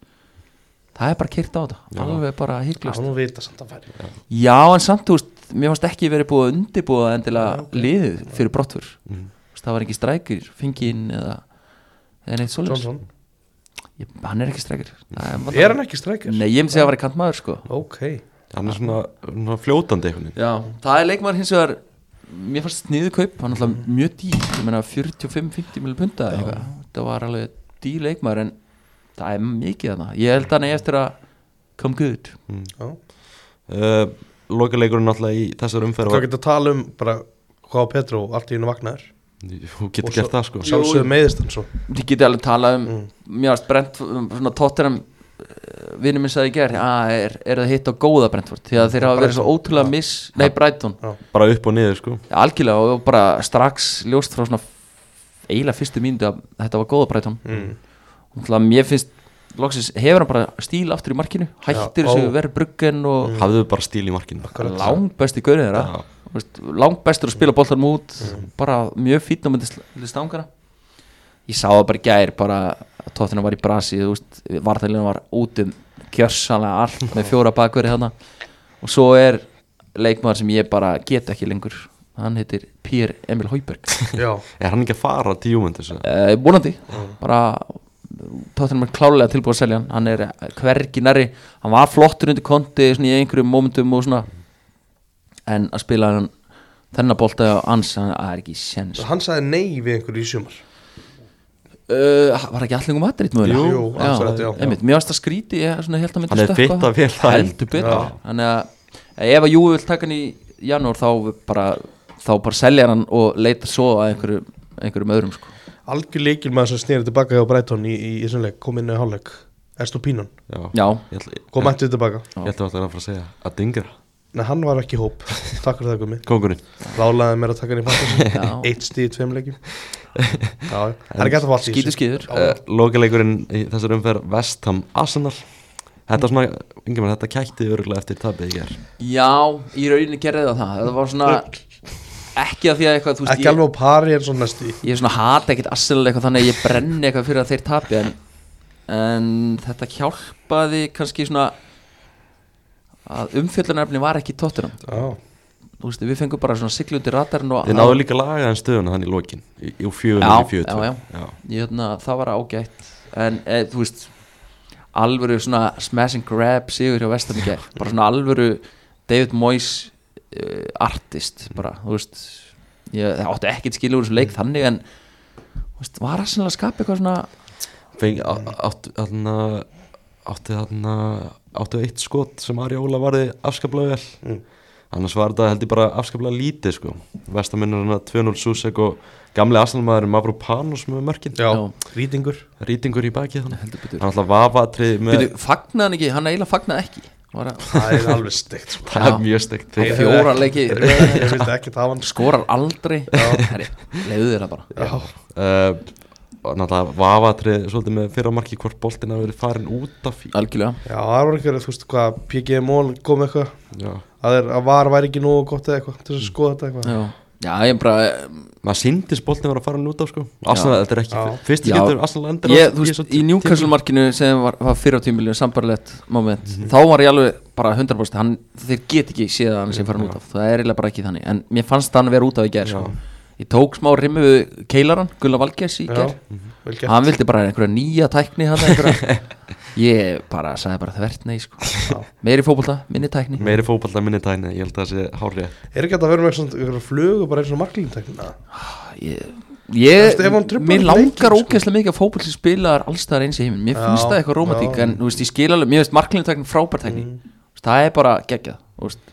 C: það er bara kyrt á þetta, alveg bara
B: Já,
C: hygglust
B: nú vita samt að færi
C: Já, en samt, þú veist, mér fannst ekki verið búið að undirbúa endilega liðið fyrir brottfur mm. það var ekki strækir, fingin eða eða neitt svoleiðis
B: Johnson
C: Ég- hann er ekki strækir
B: Er hann ekki streikar?
C: Nei, ég myndi segja að hann var kant maður sko
B: Ok
A: hann er svona, svona fljótandi einhvern veginn
C: Já, það er leikmaður hins vegar mér fannst sniðu kaup, hann er alltaf mjög dýr ég meina 45-50 miljoner punta eða eitthvað. það var alveg dýr leikmaður en það er mikið þarna ég held að hann eigi eftir að come good
B: Já.
A: uh, lokaleikurinn náttúrulega í þessar umferð
B: Hvað
A: var-
B: getur að tala um bara hvað á Petru og allt í hennu vaknaður
A: þú
B: Og
A: getur
B: svo-
A: gert það sko
B: Sjálfsögðu meiðist hann svo
C: Ég geti alveg talað um
B: Mm.
C: Mér varst Brentford, svona Tottenham Vinnum minn sagði í gerð að er, er það hitt á góða Brentford Því að þeir hafa verið svo
B: Brighton.
C: ótrúlega
B: Já.
C: miss Nei, Brighton
A: bara upp og niður sko
C: Algjörlega og bara strax ljóst frá svona Eiginlega fyrstu mínútu að þetta var góða Brighton
B: mm.
C: Þannig að mér finnst Loksins hefur hann bara stíl aftur í markinu Hættir
B: Já,
C: þessu
B: ó.
C: verið bruggen og
A: mm. hafðu bara stíl í markinu
B: Akkurat.
C: langbesti gaurið þeirra
A: Já.
C: Þú veist, langbestur að spila boltanum út bara mjög fýtna með stangara ég sá það bara í gær bara að tóttina var í brasi þú veist, vartalina var út um kjörsanlega allt með fjóra bakverið þarna og svo er leikmaður sem ég bara get ekki lengur hann heitir Pér Emil Hauberg
B: Já
A: er hann ekki að fara til Júmendis
C: uh, búnandi bara tóttunum er klálega tilbúið að selja hann hann er hvergi nærri hann var flottur undir konti svona, í einhverjum momentum og svona en að spila hann þennan bolta á ans, hann það er ekki sens uh,
B: Hann sagði nei við einhverju í sumar
C: var ekki allir um Madrid mögulega
B: Jú, jú, akkurat, já.
C: einmitt, mér varst að skríti ég svona held að myndi
A: Hann er
C: stökkva.
A: fitt af vel það.
C: heldur betur þannig að eh, ef að Júi vil taka hann í janúar þá bara þá bara selja hann og leita svo að einhverju, einhverjum öðrum sko.
B: Algjör leikil maður sem snýri tilbaka hjá Brighton í, í, í sannleik, kom inn í hálfleik Estupínan,
C: já,
A: ég ætla- ég-
B: kom mættið tilbaka
A: ég ætla alltaf að fara að segja að dingra
B: Nei, hann var ekki í hóp, takk fyrir það komi
A: kongurinn
B: Lálaði mér að taka hann í fantasy
C: (laughs) Já.
B: Eitt stíð í tveim leikjum Já, já. hann er gætt að falla í
C: skýtur skýtur
A: uh, lokaleikurinn í þessar umferð Vestham Arsenal þetta svona, yngjum þetta kætti örgulega eftir tabið í ger
C: Já, í rauninni gerði það það Það var svona Ekki að því að eitthvað, þú veist
B: Ekki
C: ég,
B: alveg á pari en svona næstu í.
C: ég svona hata ekkit assenlega eitthvað Þannig að ég brenni eitthvað fyrir að þeir tapi En, en þetta hjálpaði kannski svona Að umfjöllunarefni var ekki tóttunum
B: Já,
C: Þú veist, við fengum bara svona siglu undir ratarinn og
A: þið náðu líka lagaðan stöðuna hann í lokin í, í fjögur
C: Já,
A: í fjögur
C: já, ég, hérna, Það var ágætt En e, þú veist Alvöru svona smash and grab Sigur hjá vestam í gær Bara svona alvöru David Moyes uh, Artist bara, þú veist ég, Það átti ekkit skilur úr þessu leik þannig En þú veist, var að að skapa eitthvað svona
A: Fengi, á, átt, þarna, átti þarna áttu eitt skot sem Ari Óla varði afskaplega vel annars var þetta held ég bara afskaplega lítið sko. vestaminnur hann 2-0 Susek og gamli aðstæðanmaður Mavro Panos með mörkin,
B: já.
C: Já.
B: rýtingur
A: rýtingur í bakið hann
C: Heldur betur.
A: hann alltaf vafatrið með
C: Byrju, Fagnaði hann ekki, hann eiginlega fagnaði ekki Var að
B: Það er alveg steikt sko.
A: það
C: Já.
A: er mjög steikt
C: Ég- fjóra leiki.
B: Ég vildi ekki hafa hann sko.
C: skorar aldrei Herri, leiðu þér það bara
B: Já,
A: uh, og náttúrulega vafatrið svolítið með fyrra marki hvort boltin hafi verið farin út af í
C: Algjörlega
B: já, það var einhverju, þú veist hvað PG Mól kom eitthvað
A: Já.
B: að, þeir- að var væri ekki nógu gott eða eitthvað til þess að skoða þetta eitthvað
C: Já, já ég bara um,
A: maður síndist boltin var að fara út af sko Arsenal, þetta er ekki
B: Já.
A: fyrst
C: Já.
A: getur Arsenal endur
C: ég, þú veist, í Newcastle markinu sem var, var fyrir á tímilinu sambarlegt moment,
B: Mhm.
C: þá var ég alveg bara 100% hann, þeir get ekki séð að hann sem fara út af, það er eiginlega bara ekki þannig en mér fannst hann vera út af í gerð sko. ég tók smá rimmi við keilaran Gulla Valgers í
B: Já,
C: ger
B: vel
C: hann
B: gert
C: vildi bara einhverja nýja tækni hann
B: (laughs)
C: einhverja ég bara sagði bara þvert nei sko
B: Já.
C: meiri fótbolta, minni tækni
A: meiri fótballta minni tækni, ég held að það sé hárið
B: Er ekki hægt að vera með svona- einhverja flugu bara eins og marklínteknina?
C: ég,
B: Þú veist, ef hann
C: ég
B: truflar
C: mér
B: leikinn,
C: langar
B: sko.
C: ógeðslega mikið að fótbolti spilaðar allstaðar eins í heiminn, mér
B: Já,
C: finnst það eitthvað romantík
B: já.
C: en þú veist, ég skil alveg, mér finnst marklinutækni frábærtækni mm. það er bara geggjað þú veist.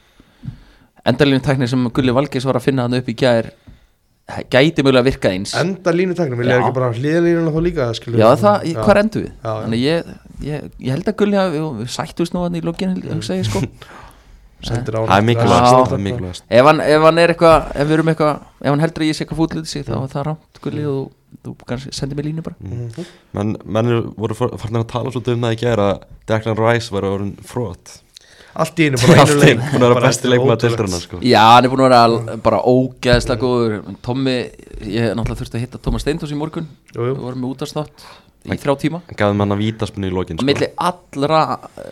C: endarlinutækni sem Gulli Valgeis var að finna hann upp í gær eh, gæti mögulega virkað eins
B: Enda línuteknum, ég lega
C: Já.
B: ekki bara hliðlínuna þá líka skilur
C: já
B: við.
C: það,
B: Já.
C: hvað endur við
B: Já, já.
C: þannig ég, ég, ég held að Gulli hafi og við sættust nú hann í lokin hugsa
B: (laughs)
C: ég sko
B: Sendir á hann
A: það er
B: eftir
A: mikilvægast,
C: Já.
B: aðeins.
A: það er mikilvægast
C: ef hann, ef hann er eitthvað, ef við erum eitthvað ef hann heldur að ég sé eitthvað fútlið sig þá er það rámt
B: Mm.
C: Gulli og þú, þú kannski sendir mér línu bara
B: Mhm.
A: menn, menn eru- voru farin að tala svolítið um það í gera að Declan Rice var að voru
C: (laughs)
A: frót
B: Allt í einu
A: (laughs)
B: bara einu
A: alltaf,
B: leik
A: hún er að
B: Bara
A: besti
B: þetta er
A: leikmaða
B: ótrúlegt.
A: deildrana sko.
C: Já, hann er búin að vera al- bara ógeðslega góður Tommi, ég náttúrulega þurfti að hitta Tómas Steindós í morgun
B: Jú, jú.
C: Við vorum með útastátt í þrjá tíma
A: hann gaf manna vítaspunni í lokin
C: Á
A: sko.
C: milli allra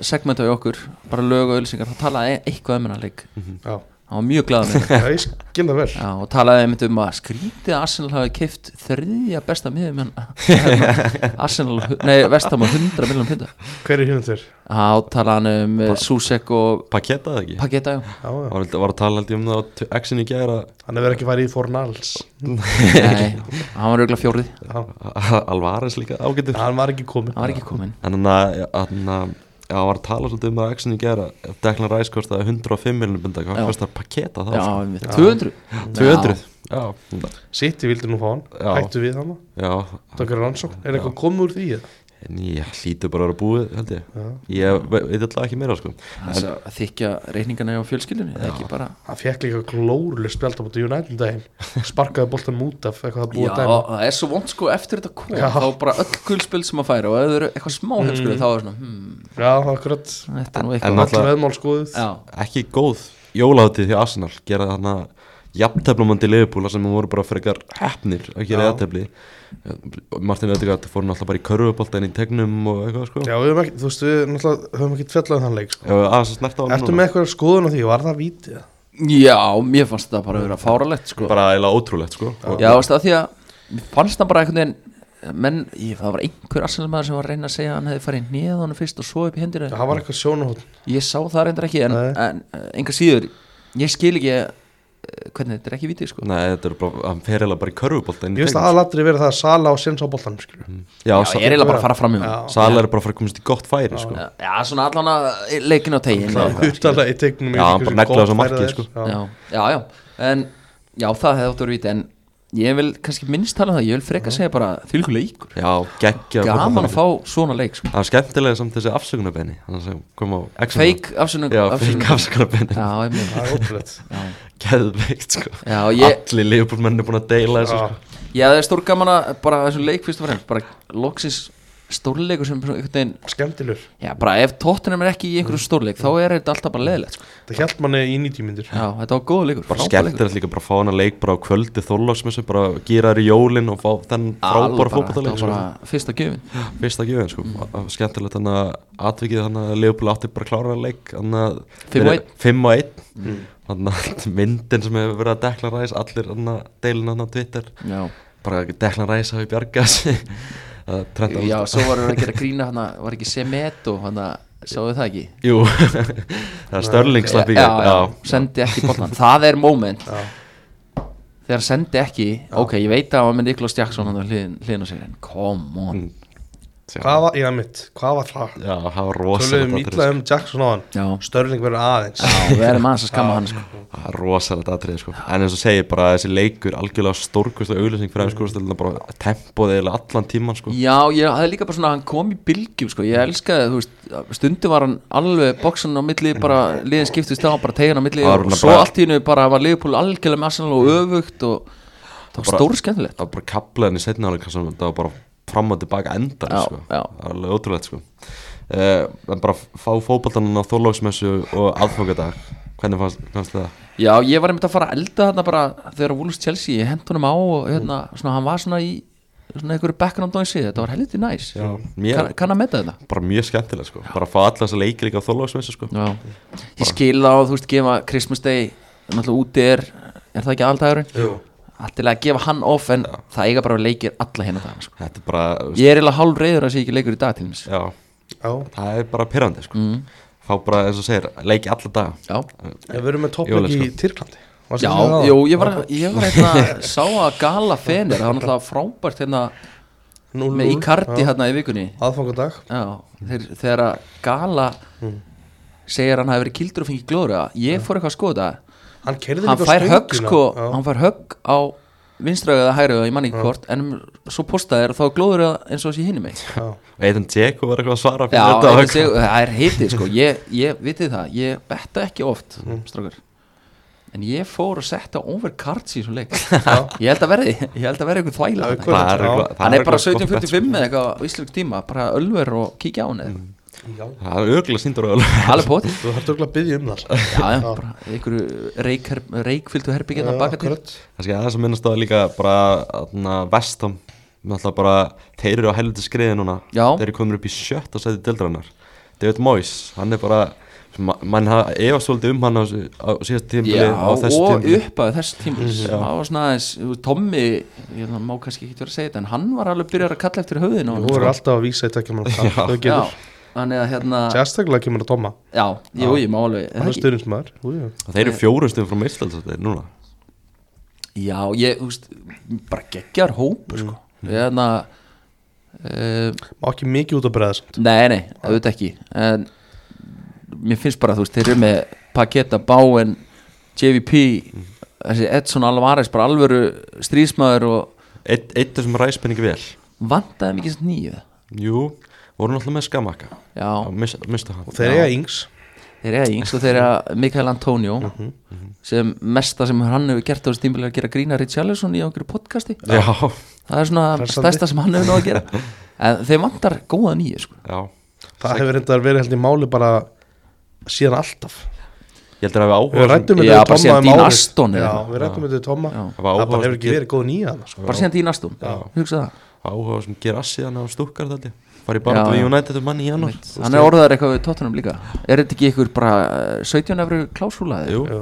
C: segmenta við okkur bara lög og ölsingar, þá talaði e- eitthvað um hennar leik
B: Já,
C: Hann var mjög glaða með þetta
B: Já, ég skil það vel
C: Já, og talaði einmitt um að skrítið að Arsenal hafi keift þriðja besta miðum en Arsenal, nei, vestam á 100 miljonum pinda
B: Hver er hinn þér?
C: Já, talaði hann um eh, Susek og
A: paketaði ekki
C: Paketa, já
B: Já, já
A: var, var að tala held ég um það á X-in í gera
B: Hann hefur ekki farið í fornals
C: Nei, hann var auðvitað fjórið
B: Hann
A: Alvarez líka ágættur
B: var ekki komin
C: Hann var ekki kominn
A: en hann að hann að Já, hann var að tala svolítið um að X-in í gera Declan Rice kostaði 105 miljonum bunda Hvað
C: Já.
A: kostar paketa þá?
C: Já,
A: sko?
C: einmitt. 200
A: 200 Já,
B: Sitt, ég vildi nú fá hann
A: Já.
B: Hættu við hann
A: já,
B: Takk er rannsókn Er eitthvað komið úr því? eða?
A: en ég hlýtu bara að vera búið held ég Ég ve- veit alltaf ekki meira sko
C: Þess að þykja reyningana á fjölskyldunni það er ekki bara
B: Hann fekk líka glórulega spjald á bóti United um daginn Sparkaði boltanum út af eitthvað að
C: Já,
B: búa dæmi
C: það er svo vond sko eftir þetta kom
B: Já.
C: þá bara öll guldspil sem að færa og ef þau eru eitthvað smá helskulu þá er svona hmm,
B: Já, akkurat
C: Mm. þetta er nú
A: En
C: eitthvað
A: náttúrulega-
B: Allir veðmál skoðuð
C: Já,
A: Ekki góð jólaháttið því Arsenal Gera þarna jafnteflumandi leifupúla sem voru bara frekar hefnir að gera
B: Já.
A: eðatefli Martin Ödegaard fór náttúrulega bara í körfuboltan í tegnum og eitthvað sko
B: Já, við höfum ekki, þú veist, við náttúrulega höfum ekki fjallað þann leik sko.
A: Ef aðeins að snerta á honum
B: Ertu
A: núna.
B: með eitthvað skoðun á því, var það vítið?
C: já, mér fannst þetta bara að vera fáralegt sko
A: bara eiginlega ótrúlegt sko og,
C: Já, veist það því að mér fannst það bara einhvern veginn menn, ég, það var einhver arsenalmaður sem var að reyna að segja að hann hefði farið neð honum fyrst og svo upp í hendur
B: Það var eitthvað sjónahótt
C: Ég sá það reyndar ekki en,
B: Nei.
C: en eh, enga síður, ég skil ekki eh, hvernig þetta er ekki vitið sko
A: Nei, þetta er bara, hann fer eiginlega bara í körfuboltan
B: Ég veist að aðlatri verið það að sala á sinns á boltanum skilur.
A: Já,
C: Já,
A: Sa-
C: ég er eiginlega bara að fara fram í
B: Já.
C: hún
A: Sala er bara að fara að komast í gott færi sko
C: Já, Já, svona allan að leikin á tegin
B: Uttalega í teiknum
A: Já, hann bara neglaði þessu marki, sko.
C: já, já, já, en já, það hefði átt að vera víti en ég vil kannski minnst tala um það, ég vil freka segja bara þvílíku leikur,
A: Já, geggja
C: gaman að fá svona leik sko.
A: Það var skemmtilega samt þessi afsökunarbenni Þannig að kom á X-inu.
C: feik afsunum
A: Já, feik afsökunarbenni
C: já, ég meina.
B: Það er ótrúlegt
A: Geðveikt sko
C: já, ég,
A: Allir liðbúrmenn er búin að deila þessu
B: Já.
A: sko.
C: ég hefði stór gaman að bara þessum leik fyrst og fremst, bara loksins stórleikur sem svona einhvern veginn
B: Skemmtilur
C: já, bara ef tóttunum er ekki í einhverju stórleik þá er þetta alltaf bara leðilegt sko.
B: Það hjælt manni í 90 myndir
C: já, þetta var góð leikur,
A: Bara
C: frábær leikur.
A: skemmtilegt líka bara að fá hana leik bara á kvöldi þorlásmessu bara gýra þær í jólin og fá þenn
C: Alveg
A: frábár
C: bara, þetta
A: fótballtaleik
C: var
A: sko.
C: bara fyrsta gefin
A: fyrsta gjöfin sko. mm. skemmtilegt þannig að atvikið þannig að Leopold átti bara að klára þennan leik þannig að
C: Fimm og
A: fyrir- fimm og einn.
C: Mm.
A: þannig að (laughs) myndin sem hefur verið að dekla ræs allir þannig að deilin hann á Twitter
C: já
A: bara dekla ræs hafi bjargað sig (laughs) Það er trend að-
C: Já, svo varum við að gera grína hana, var ekki Semedo, hana, sáu við það ekki?
A: Jú, (laughs) það er Störling slapp í
C: já,
A: gegn,
C: já, sendi ekki bollan, það er moment Þegar sendi ekki, ok, ég veit að hann með Niklas Jackson hann hliðin, hliðin á sig, en come on
A: Mm.
B: Hvað var, já mitt, hvað var það?
A: Já, það var
B: Töluðum
A: rosalegt sko.
B: ítlaðum Jackson á
C: sko. Já.
B: hann Störling verður aðeins
C: Já, við erum aðeins að skamma hann, sko
A: Það er rosalegt aðtrið sko. En eins og segi bara að þessi leikur Algjörlega stórkustlega auðlýsing
C: Mm.
A: fyrir aðeins bara Tempoð eða allan tíman sko.
C: Já, ég hafði líka bara svona, hann kom í bylgjum, sko Ég elskaði, þú veist, stundum var hann alveg boksan á milli, bara liðin skiptist á, bara tegin á milli
A: Það var
C: Og
A: bara-
C: svo allt í hennu bara var liðpúl algjörlega með Arsenal og öfugt og það var
A: Bara-
C: stór skemmtilegt
A: Það var bara kaplaðin í setna áleik Það var bara fram og tilbaka endan
C: Já,
A: sko.
C: já.
A: Það var alveg ótrúlegt sko. uh, En bara fá fótboltaninn á Þorlóksmessu Og aðfókadag Hvernig fannst, fannst það?
C: Já, ég var einmitt að fara að elda þarna bara þegar Wolves Chelsea, ég hent honum á og hérna, svona, hann var svona í svona einhverju background noise, þetta var helviti næs
A: mér-
C: kann, kann að meta þetta
A: Bara mjög skemmtilega sko. Bara að fá alla þessa leiki líka á Þorlóksmessu sko.
C: Já. Ég skil þá, þú veist, gefa Christmas Day, náttúrulega úti er er það ekki aðaldagurinn?
B: Jú.
C: alltilega að gefa hann off en það eiga bara að leikir alla hérna dagana sko.
A: Þetta er bara
C: ég er eiginlega hálf reyður að sé ekki leikur í dag til mér
A: Já,
B: Já,
A: það er bara pyrrandi sko.
C: Mm.
A: Fá bara, eins og segir, leiki alla daga
C: já,
B: Já, við erum með
A: Jólalegt,
B: toppleik í
A: sko.
B: Tyrklandi Varstu
C: já,
B: að segja það?
C: jú, ég var ég var hérna, sá að gala fenir það var náttúrulega frábært hérna
B: Núll,
C: með
B: núll,
C: Icardi
B: já.
C: hérna í vikunni
B: Aðfangadag
C: já, þeir, þegar að gala
A: Mm.
C: segir að hann hafi verið kildur og fengið glóður ég fór eitthvað að skoða þetta
B: Hann kerði
C: hann fær högg sko, hann fær högg á vinströðu eða hægriðu, ég man ekki hvort en svo postaði þér og þá glóður það eins og þessi hinni
A: (laughs)
C: mig
A: Eitthvað Tjeko var eitthvað að svara
C: Já,
A: fyrir þetta
C: þetta
A: og-
C: seg, það er heitið sko ég, ég vitið það, ég betta ekki oft
A: Mm.
C: strókar en ég fór að setja over cards í svo leik ég held að verði, ég held að verði einhver þvæla
B: Já,
C: þarna.
B: hvað-
A: Það er eitthvað- það
C: hann er bara
A: eitthvað gott bett,
C: 17.45 eða eitthvað á íslensk tíma bara ölver og kíkja á hann eða eitthvað.
B: Já,
A: sko. Það er örgulega síndur og örgulega
C: alveg potið
B: þú þarfst örugglega að byggja um það
C: já, já, bara einhverju reikher- reikfylltu herbyggjarna baka til
B: akkurat.
A: Kannski aðeins að minnast á það líka bara vestam Náttúrulega bara, þeir eru á helviti skriði núna
C: Já.
A: Þeir eru komin upp í sjötta að setja dildrarnar David Moyes, hann er bara ma- mann hafa efast svolítið um hann á, þessu- á síðast tímbili
C: Já,
A: á
C: og
A: þessu tímbili
C: upp að þessu tímbil það var svona aðeins, þú veist, Tommy ég má kannski ekki vera að segja þetta en hann var alveg byrjar að kalla eftir höfðin
B: Þú voru alltaf að vísa þetta
C: (laughs)
B: kemur að
A: Já.
B: kalla
C: sko. já, þannig að hérna
B: Sérstaklega kemur að Toma
C: já, jú, ég má alveg
B: Hann er
C: er það ekki?
B: styrningsmaður Jú, jú.
A: og þeir eru fjórumstum frá meistaldsættir núna
C: já, ég, þú veist, bara geggjar hópur sko, hérna uh,
B: Má ekki mikið út að bregða samt
C: nei, nei, auðvitað ekki en mér finnst bara, þú veist, þeir eru með Paketa, Báen, JVP þessi Edson Alvarez bara alvöru stríðsmaður og
A: Eitt eitt af þessum ræspenningi vel
C: vantaði mikið sem nýju
A: Jú, voru náttúrulega með skamaka
C: já,
A: Mista hann
B: Og þeir eiga yngs
C: Þeir eiga Ings og þeir eiga Mikael Antonio sem mesta sem hann hefur gert á þessu tímbil er að gera grína Richarlison í einhverju podcasti
A: Já,
C: það er svona
B: Hressandi.
C: stærsta sem hann hefur náð að gera en þeir vantar góða nýju sko.
A: já
B: Það hefur reyndar verið held í máli bara síðan alltaf
A: Ég heldur að við
B: Við
A: áhuga
B: rættum
C: Já,
B: þetta við
C: bara síðan
B: Tomma um
C: Dean
B: árið.
C: Aston eða
B: Já,
C: eitthvað.
B: við rættum þetta við Tomma
C: Já.
A: Það var
B: Það bara
A: áhuga
B: hefur
A: sem
B: ekki verið góð nýja hann sko.
C: bara síðan því næstum hugsa það
A: áhuga sem ger assi hann á stúkkar þetta Farið bara
C: Já, já.
A: við United um manni í janúar
C: hann er orðaður eitthvað við tóttunum líka er þetta ekki ykkur bara eh, 17 efri klásúla eða?
A: Jú,
B: Já.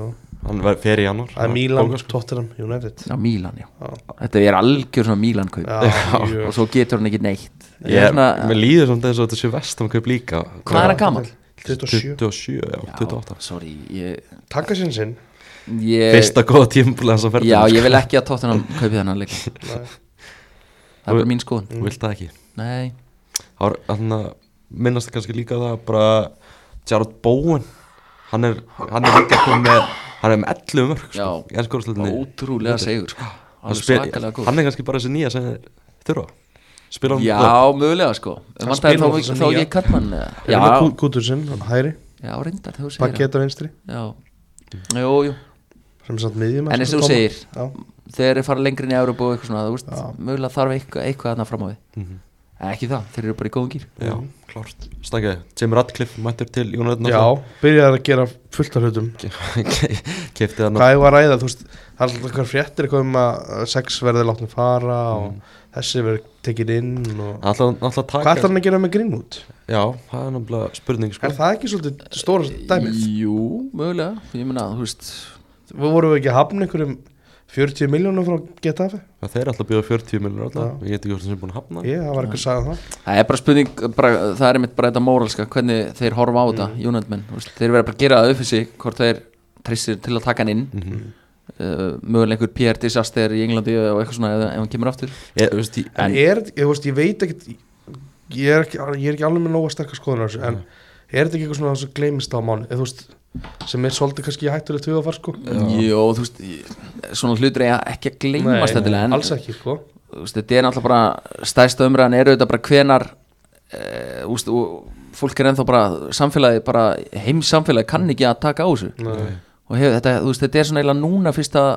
A: hann sko. ver- fer í janúar
B: Það er Milan, Tottenham, (laughs) United
C: já, Mílan, já. þetta er algjör svona Mílan kaup
B: Já, mjög.
C: og svo getur hann ekki neitt Ég hérna-
A: Ég,
C: er svona-
A: mér líður samt eins og þetta sé vestam kaup líka
C: hvað er hann gammal?
B: 27
A: 27, já, 28
C: sorry, ég,
B: Takka sinn sinn
C: ég
A: Fyrsta góða tímpul hans sko. að ferða
C: Eh, Já, ég vil ekki að Tottenham kaupi þennan leik Það er bara mín skoðun
B: Mm.
A: Þú vilt það ekki
C: Nei,
A: Það var, þarna, eh, Minnast kannski líka á það bara Gerard Bowen Hann er, hann er líka komið með Hann er með 11 mörg sko,
C: Já.
A: í ensku úrvalsdeildinni.
C: ótrúlega segur sko.
A: Hann
C: Alveg
A: spil-
C: svakalega góð
A: Hann er kannski bara þessi nýja sem þeir þurfa Spila hann upp.
C: Já, mögulega sko En vantar
B: spilar
C: þá
B: þessa
C: ekki- þá
B: nýja.
C: ekki kallmann eða?
B: Já
C: Já,
B: Hérna Kútur sinn, hæri
C: já, reyndar þegar þú segir
B: Paketa vinstri
C: það Já, jú, jú
B: Sem er samt miðjum
C: En eins og þú segir,
B: Já
C: þegar þeir fara lengri inn í Európa og eitthvað svona, þú veist, mögulega þarf eitthvað, eitthvað þarna fram á við
B: Mhm.
C: Ekki það, þeir eru bara í góðum gýr
A: Já, klárt Stangaði, Jim Radcliffe mættur til United
B: Já,
A: (laughs)
B: byrjaði að gera fullt af hlutum
A: Kefti hann
B: Hvað ég var að ræða, þú veist Það er alltaf eitthvað fréttir eitthvað um að uh, sex verði látni fara og þessi verði tekin inn og...
A: Alltaf
B: Hvað ætlar
A: taka
B: hann að gera með Greenwood?
A: Já, það er náttúrulega spurning sko
B: Er það ekki svolítið stóra dæmið?
C: Jú, mögulega, ég meina, þú veist
B: Við vorum við ekki að hafna einhverjum 40 miljónum frá getafi?
A: Það þeir alltaf bjóða 40 miljonar alltaf Ég get ekki hvort sem er búin að hafna
B: Ég, það var eitthvað að sagða það
C: Það er bara spurning, bara, það er mitt bara þetta móralska, hvernig þeir horfa á þetta,
B: Mhm.
C: mm. United-menn, þú veist, þeir verða bara að gera það upp fyrir sig, hvort þeir treystir til að taka hann inn,
B: Mhm.
C: uh, mögulega einhver PR disaster í Englandi og eitthvað svona ef, ef hann kemur aftur.
A: Ég, þú veist, ég,
B: En er, ég, þú veist, ég veit ekkert ég er ekki, ég er ekki alveg með nóga sterkar skoðunar þessu, en er þetta ekki eitthvað svona sem gleymist á mánu, eða þú veist sem er svolítið kannski hættulegt við að fara sko
C: Jó, þú veist, ég- svona hlutur eiga ekki að gleymast endilega, en
B: alls ekki sko
C: þú veist, þetta er náttúrulega bara stæsta umræðan eru þetta bara hvenar eh, þú veist, og fólk er ennþá bara samfélagi, bara heimsamfélagi kann ekki að taka á þessu
B: Nei.
C: og hef, þetta, þú veist, þetta er svona eiginlega núna fyrst að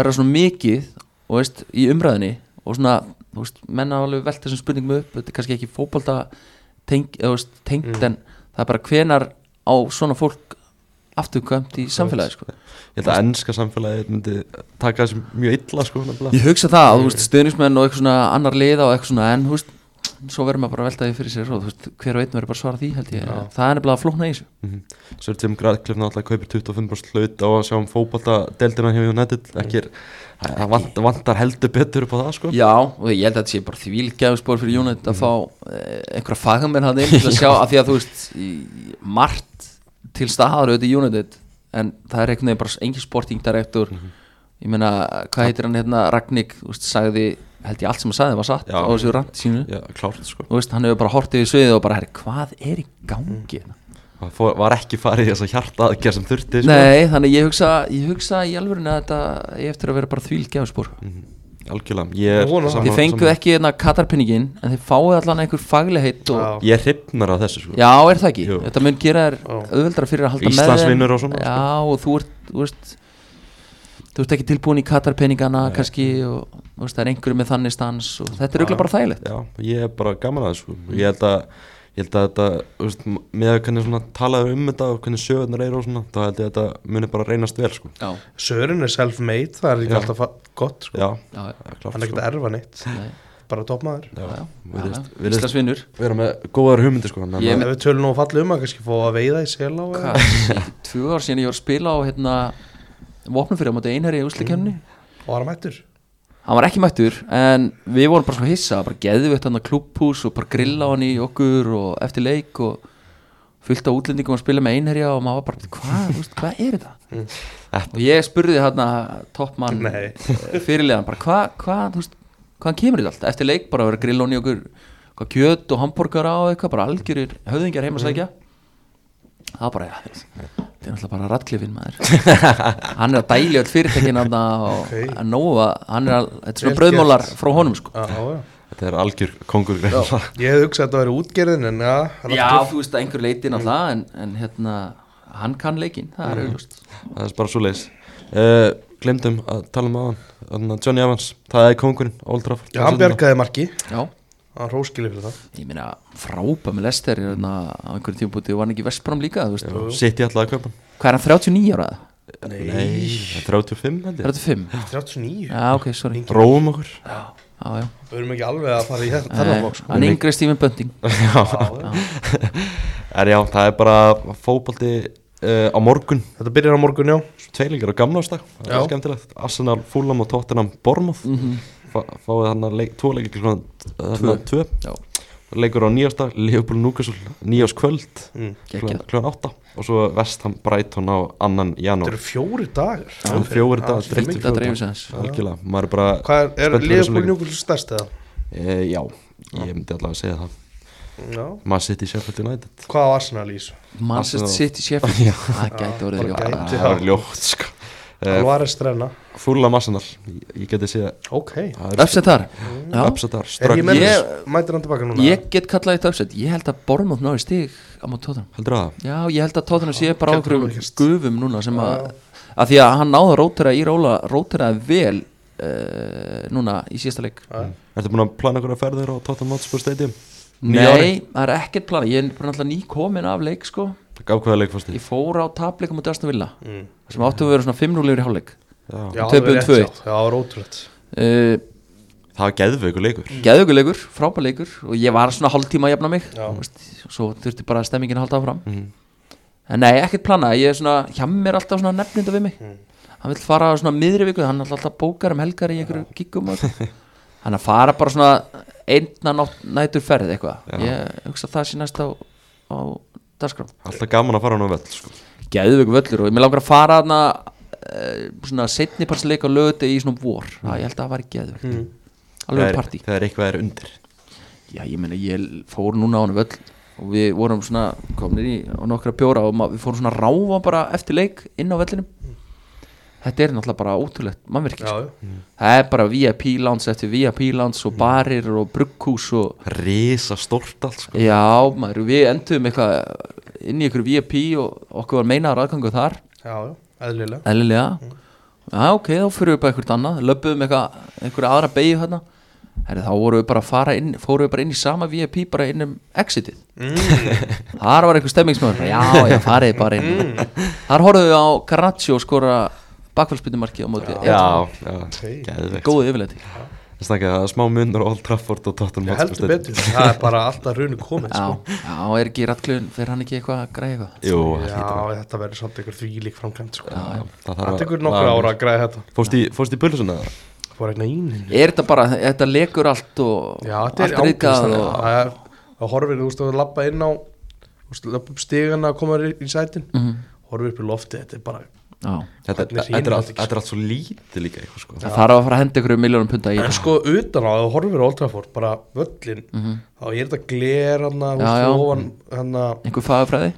C: vera svona mikið og veist, í umræðinni og svona, þú veist, menna alveg velt þessum spurningum upp, þetta er kannski ekki fótbolta tengt, veist, tengt en það er bara hvenar á svona fólk afturkvæmt í samfélagi sko.
A: ég held að ennska samfélagið myndi taka þessi mjög illa sko nefnilega.
C: Ég hugsa það, þú veist, stuðnismenn og eitthvað svona annar liða og eitthvað svona en, þú veist, svo verður maður bara að velta því fyrir sér og þú veist, hver og einn verður bara að svara því held ég
B: Já.
C: það er nefnilega að flókna í þessu
A: Svo er Tim Gradcliffe náttúrulega kaupir 25% hlut á að sjá um fótbolta deildina hjá United ekki er, það það vant, vantar heldur betur upp á það sko
C: Já, og ég held að þetta sé bara þvílgæðspor fyrir United að fá eh, einhverja fagamenn hann inn til (laughs) að sjá að því að þú veist í- margt til staðar auðvitað í United en það er einhvern veginn bara engin sporting director
A: Mhm.
C: ég meina, hvað heitir hann hérna Ragnik, þú veist, sagði held ég allt sem hann sagði var satt
A: Já.
C: á þessu rand sínu
A: Já, klárt sko
C: þú veist, hann hefur bara hortið í sviðið og bara herri, hvað er í gangi hérna
A: Það fór- var ekki farið í þess að hjarta aðgerð sem þurfti sko.
C: Nei, þannig ég hugsa, ég hugsa í alvörinu að þetta ég eftir að vera bara þvílgæðspor
A: Mm. Algjörlega, ég
B: Ég vona
A: er
B: það.
A: sama-
C: Þið fenguð
A: sama-
C: ekki hérna katarpinningin en þið fáið allan einhver faglegheit og,
B: Já.
A: Ég hrifnar af þessu sko
C: Já, er það ekki?
A: Jú.
C: Þetta mun gera þér
B: Já.
C: auðveldara fyrir að halda með
A: Íslandsvinnur og svona, sko.
C: Já, og þú ert, þú veist Þú ert ekki tilbúin í katarpeningana kannski og þú veist, það er einhverju með þannig stans og þetta er auðvitað bara þægilegt
A: Mm. Já, ég er bara gaman að þessu sko. Ég held að, ég held að þetta, þú veist, með að hvernig svona talaðu um þetta og hvernig sögurnar eru og svona, þá held ég að þetta muni bara reynast vel sko
C: Já,
B: Sören er self-made, það er
A: Já.
B: ekki alltaf fa- gott sko.
A: Já,
C: já,
A: það er
B: Hann er
A: klárt
B: ekkert
A: sko
B: að erfa neitt
C: Nei,
B: Bara toppmaður
A: Já,
C: já, já,
A: virðist-
C: já.
A: virðist
C: Íslandsvinnur
A: vera með góðar hugmyndir sko þannig að-
C: Ég er
B: Ef við tölum nú að falla um að kannski fá að veiða í sel á
C: Hvað, í tvö ár síðan ég var að spila á hérna, vopnum fyrir á móti einherri í úslikefni
B: og var mættur
C: hann var ekki mættur en við vorum bara svo hissa bara geðum við þetta klubbhús og bara grilla á hann í okkur og eftir leik og fullt á útlendingum að spila með einherja og maður var bara, hvað, þú veist, hvað er þetta? og ég spurði hérna toppmann
B: Nei.
C: fyrirlegan bara, hvað, hvað, þú veist, hvaðan kemur þetta allt? Eftir leik bara að vera að grilla á hann í okkur hvað kjöt og hambúrgara og eitthvað, bara algjörir höfðingjar heim að sækja það var bara, ja, þetta er náttúrulega bara ratklifin maður (laughs) hann er að dæli öll fyrirtekin og
B: Ok.
C: að nóa, hann er að, þetta er svona
B: Vel
C: bröðmólar
B: gert.
C: frá honum sko
B: Já, já.
A: Þetta er algjör kongur greinlega
B: Ég hefði hugsað að þetta væri útgerðin en já, hann er
C: Já,
B: alltaf-
C: þú veist að einhver leiti
B: Mm.
C: náttúrulega en, en hérna, hann kann leikinn það er auðvist
A: Það er bara svo leiðis uh, Glemdum að tala um aðan Þannig að Johnny Evans, það er kongurinn Old Trafford
B: Já, hann bjargaði marki
C: Já,
B: Hann róskili fyrir það
C: ég meina frábæð með Lester hérna, á einhverjum tímpúti og var hann ekki í Vestbrom líka þú veist.
A: Sitt í alltaf að kaupa hann.
C: Hvað er hann, 39 ára?
A: Nei, það er 35 held ég
C: 35?
B: 39
C: Já, ok, sorry Já,
A: Róum okkur
C: já
B: Við erum ekki alveg að fara í þetta
C: Eh,
B: þennan bóks
C: Hann er yngri Stephen Bunting
A: En já, það er bara fótbalti uh, á morgun
B: Þetta byrjar á morgun, já
A: Svo Tveilingar á gamlástag, það
B: Já.
A: er skemmtilegt Arsenal, Fulham og Tottenham Bormoth Fá, Fáið hann að leik, tvo leikir klukkan Tvö, tvö.
C: Já.
A: Leikur á nýjástag, Liverpool Núkasul Nýjáskvöld
B: Mm.
A: klukkan klukkan átta Og svo Vestham Brighton á annan
B: Þetta
A: janúar
B: eru fjóri dagar
A: Það eru fjórir dagar,
B: Já,
A: þreyttur.
B: mikið.
C: Þetta dreifis aðeins
A: Algjörlega, maður er bara
B: Hvað er, er
A: Spenntur fyrir þessum
B: liðbúin
A: leikjum.
B: júkul stærst eða?
A: E, já, ég myndi allavega að segja það
B: Já
A: maður sitt í Sheffield United
B: Hvað á Arsenal í þessu?
C: Manchester
A: Arsenal.
C: City Sheffield Það gæti orðið
B: bara
C: ljótt.
B: gæti. Já.
A: það er ljótt sko. e,
B: Alvarez Strenna
A: fulla massanar, ég, ég geti segja
B: Ok
A: það er
C: Upset þar Já.
A: uppsettar,
B: Er ég
A: strögg
B: með
C: Ég-
B: þessu? Mætir hann tilbaka núna?
C: Ég get kallað eitt upset Ég held að Bormóð náði stig á mót Tottenham
A: heldur það,
C: Já, ég held að Tottenham sé bara á
B: getur
C: einhverjum
B: alveg gerst.
C: gufum núna sem að að því að hann náði að rótera í róla rótera vel uh, núna í síðasta leik
B: Já.
A: ertu búin að plana einhverja ferðir á Tottenham Hotspur Stadium Nýja ári?
C: Nei, það er ekkert plana ég er bara náttúrulega nýkomin af leik sko
A: gaf hvaða leik fórstu
C: ég fór á tapleikum út Aston Villa
B: Mm.
C: sem áttu að vera svona 5-0 yfir í hálfleik
A: það
B: Já,
C: Töpuðum
B: alveg rétt,
C: 2-1.
B: já. Já, það var ótrúlegt
C: uh,
A: var geðveikur leikur
B: Mm.
C: geðuguleikur, frábæleikur og ég var svona hálftíma að jafna mig
B: Já.
C: Þú veist, svo þurfti bara stemmingin að halda áfram en nei, ekkert plana ég er svona, hjá mér alltaf svona nefninda við mig hann vill fara á svona miðri viku hann er alltaf bókar um helgar í einhverju kíkum og allt. hann að fara bara svona einna nótt, nætur ferð eitthvað ég hugsa að það sé næst á, á dagskrám
A: alltaf gaman að fara hann á vell sko.
C: geðvöku völlur og ég með langar að fara þarna eh, svona setniparsleik á löguti í svona vor, það ég held að það var geðvöku
B: Hmm.
C: alveg partí
A: þegar eitthvað er undir
C: Já, ég meina, ég fór núna á hann völl og við vorum svona komnir í á nokkra bjóra og ma- við fórum svona að ráfa bara eftir leik inn á vellinum Þetta er náttúrulega bara ótrúlegt
B: Já,
C: mannverkið sko.
B: já
C: Það er bara VIP lands eftir VIP lands og barir og brugghús og
A: risa stort allt sko.
C: Já, maður, við endum eitthvað inn í ykkur VIP og okkur var meinaður aðgangu þar
B: Já, já, eðlilega
C: eðlilega Já, ok, þá fyrir við bara eitthvað annað löpuðum eitthvað, einhverja aðra beigju hérna Herri, þá vorum við bara að fara inn fórum við bara inn í sama VIP bara inn um exitið (laughs) þar var einhver stemmingsmaður bara, já, já, farið bara inn þar horfum við á Garnaccio skora bakfælspindumarki á móti
A: já, já,
B: Ok.
A: geðveikt
C: góðu yfirleiti
A: en snakka, það er smá munur á Old Trafford og Tottenham
B: Ég
A: Hotspur
B: heldur
A: Stadium.
B: betur, það er bara alltaf runu komið
C: Já,
B: sko.
C: já, er ekki rattlun fyrir hann ekki eitthvað að græja eitthvað
A: Jú, það
B: Já,
A: hlýtur að-
B: þetta verður samt einhver þvílík framkvæmt sko.
C: Já, já.
A: það
B: Það
A: að-
B: tekur nokkur
A: það-
B: ára að græða þetta
A: Fórst í, fórst í pulsuna það?
B: Það var eitthvað ínin
C: Er þetta bara, þetta lekur allt og
B: Já, þetta er
C: allt
B: ágæðst
C: ríkað og
B: Það er það horfir, þú veist, að lappa inn á þú veist, lappa upp stigana að koma í, í sætin
C: Mhm.
B: horfir upp í lofti, þetta er bara
C: Já,
A: Þetta,
B: Hvernig
A: þetta, er
B: sýnir
A: allt,
B: þetta ekki?
A: þetta er allt svo lítið líka eitthvað sko
C: það þarf að fara að henda ykkur um miljónum punda í
B: (clears throat) En
C: þetta.
B: sko utan á, ef þú horfir á Old Trafford bara völlin, þá er þetta gler hann að,
C: Mhm. Já, já.
B: ofan hann að
C: Einhver fagafræði?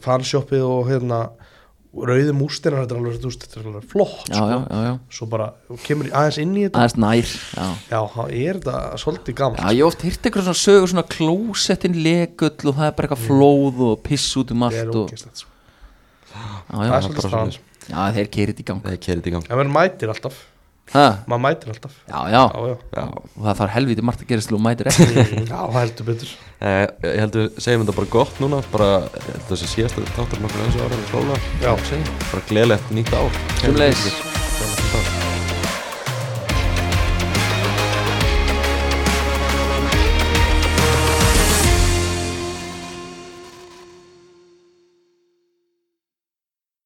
B: fanshoppið Eh, og hérna rauði mústina, þetta er alveg, þú veist, þetta er alveg flott sko.
C: Já, já, já, já
B: svo bara, þú kemur í- aðeins inn í þetta
C: Aðeins nær, já
B: já, það er þetta svolítið gaman sko.
C: Já, ég hef oft hýrt eitthvað svona sögur svona klósettin lekull og það er bara eitthvað flóð og piss út um
B: það er
C: allt og,
B: ógeðslegt sko.
C: já, já,
B: það er
A: bara
B: svolítið
A: svoleiðis.
B: staðan
C: já, þeir kerið þetta í gang
A: Það er kerið í gang
B: en maður mætir alltaf,
C: ha,
B: maður mætir alltaf
C: Já, já,
B: já, já,
A: Já,
C: og það þarf helviti margt að gerast og
B: (laughs)
C: mætir ekki (laughs)
B: já það heldur betur
A: eh, ég held við segjum þetta bara gott núna bara, ég held þessi síðasta þáttur nokkur eins og ára við klála
B: já,
A: bara gleðilegt nýtt ár
C: Sumleis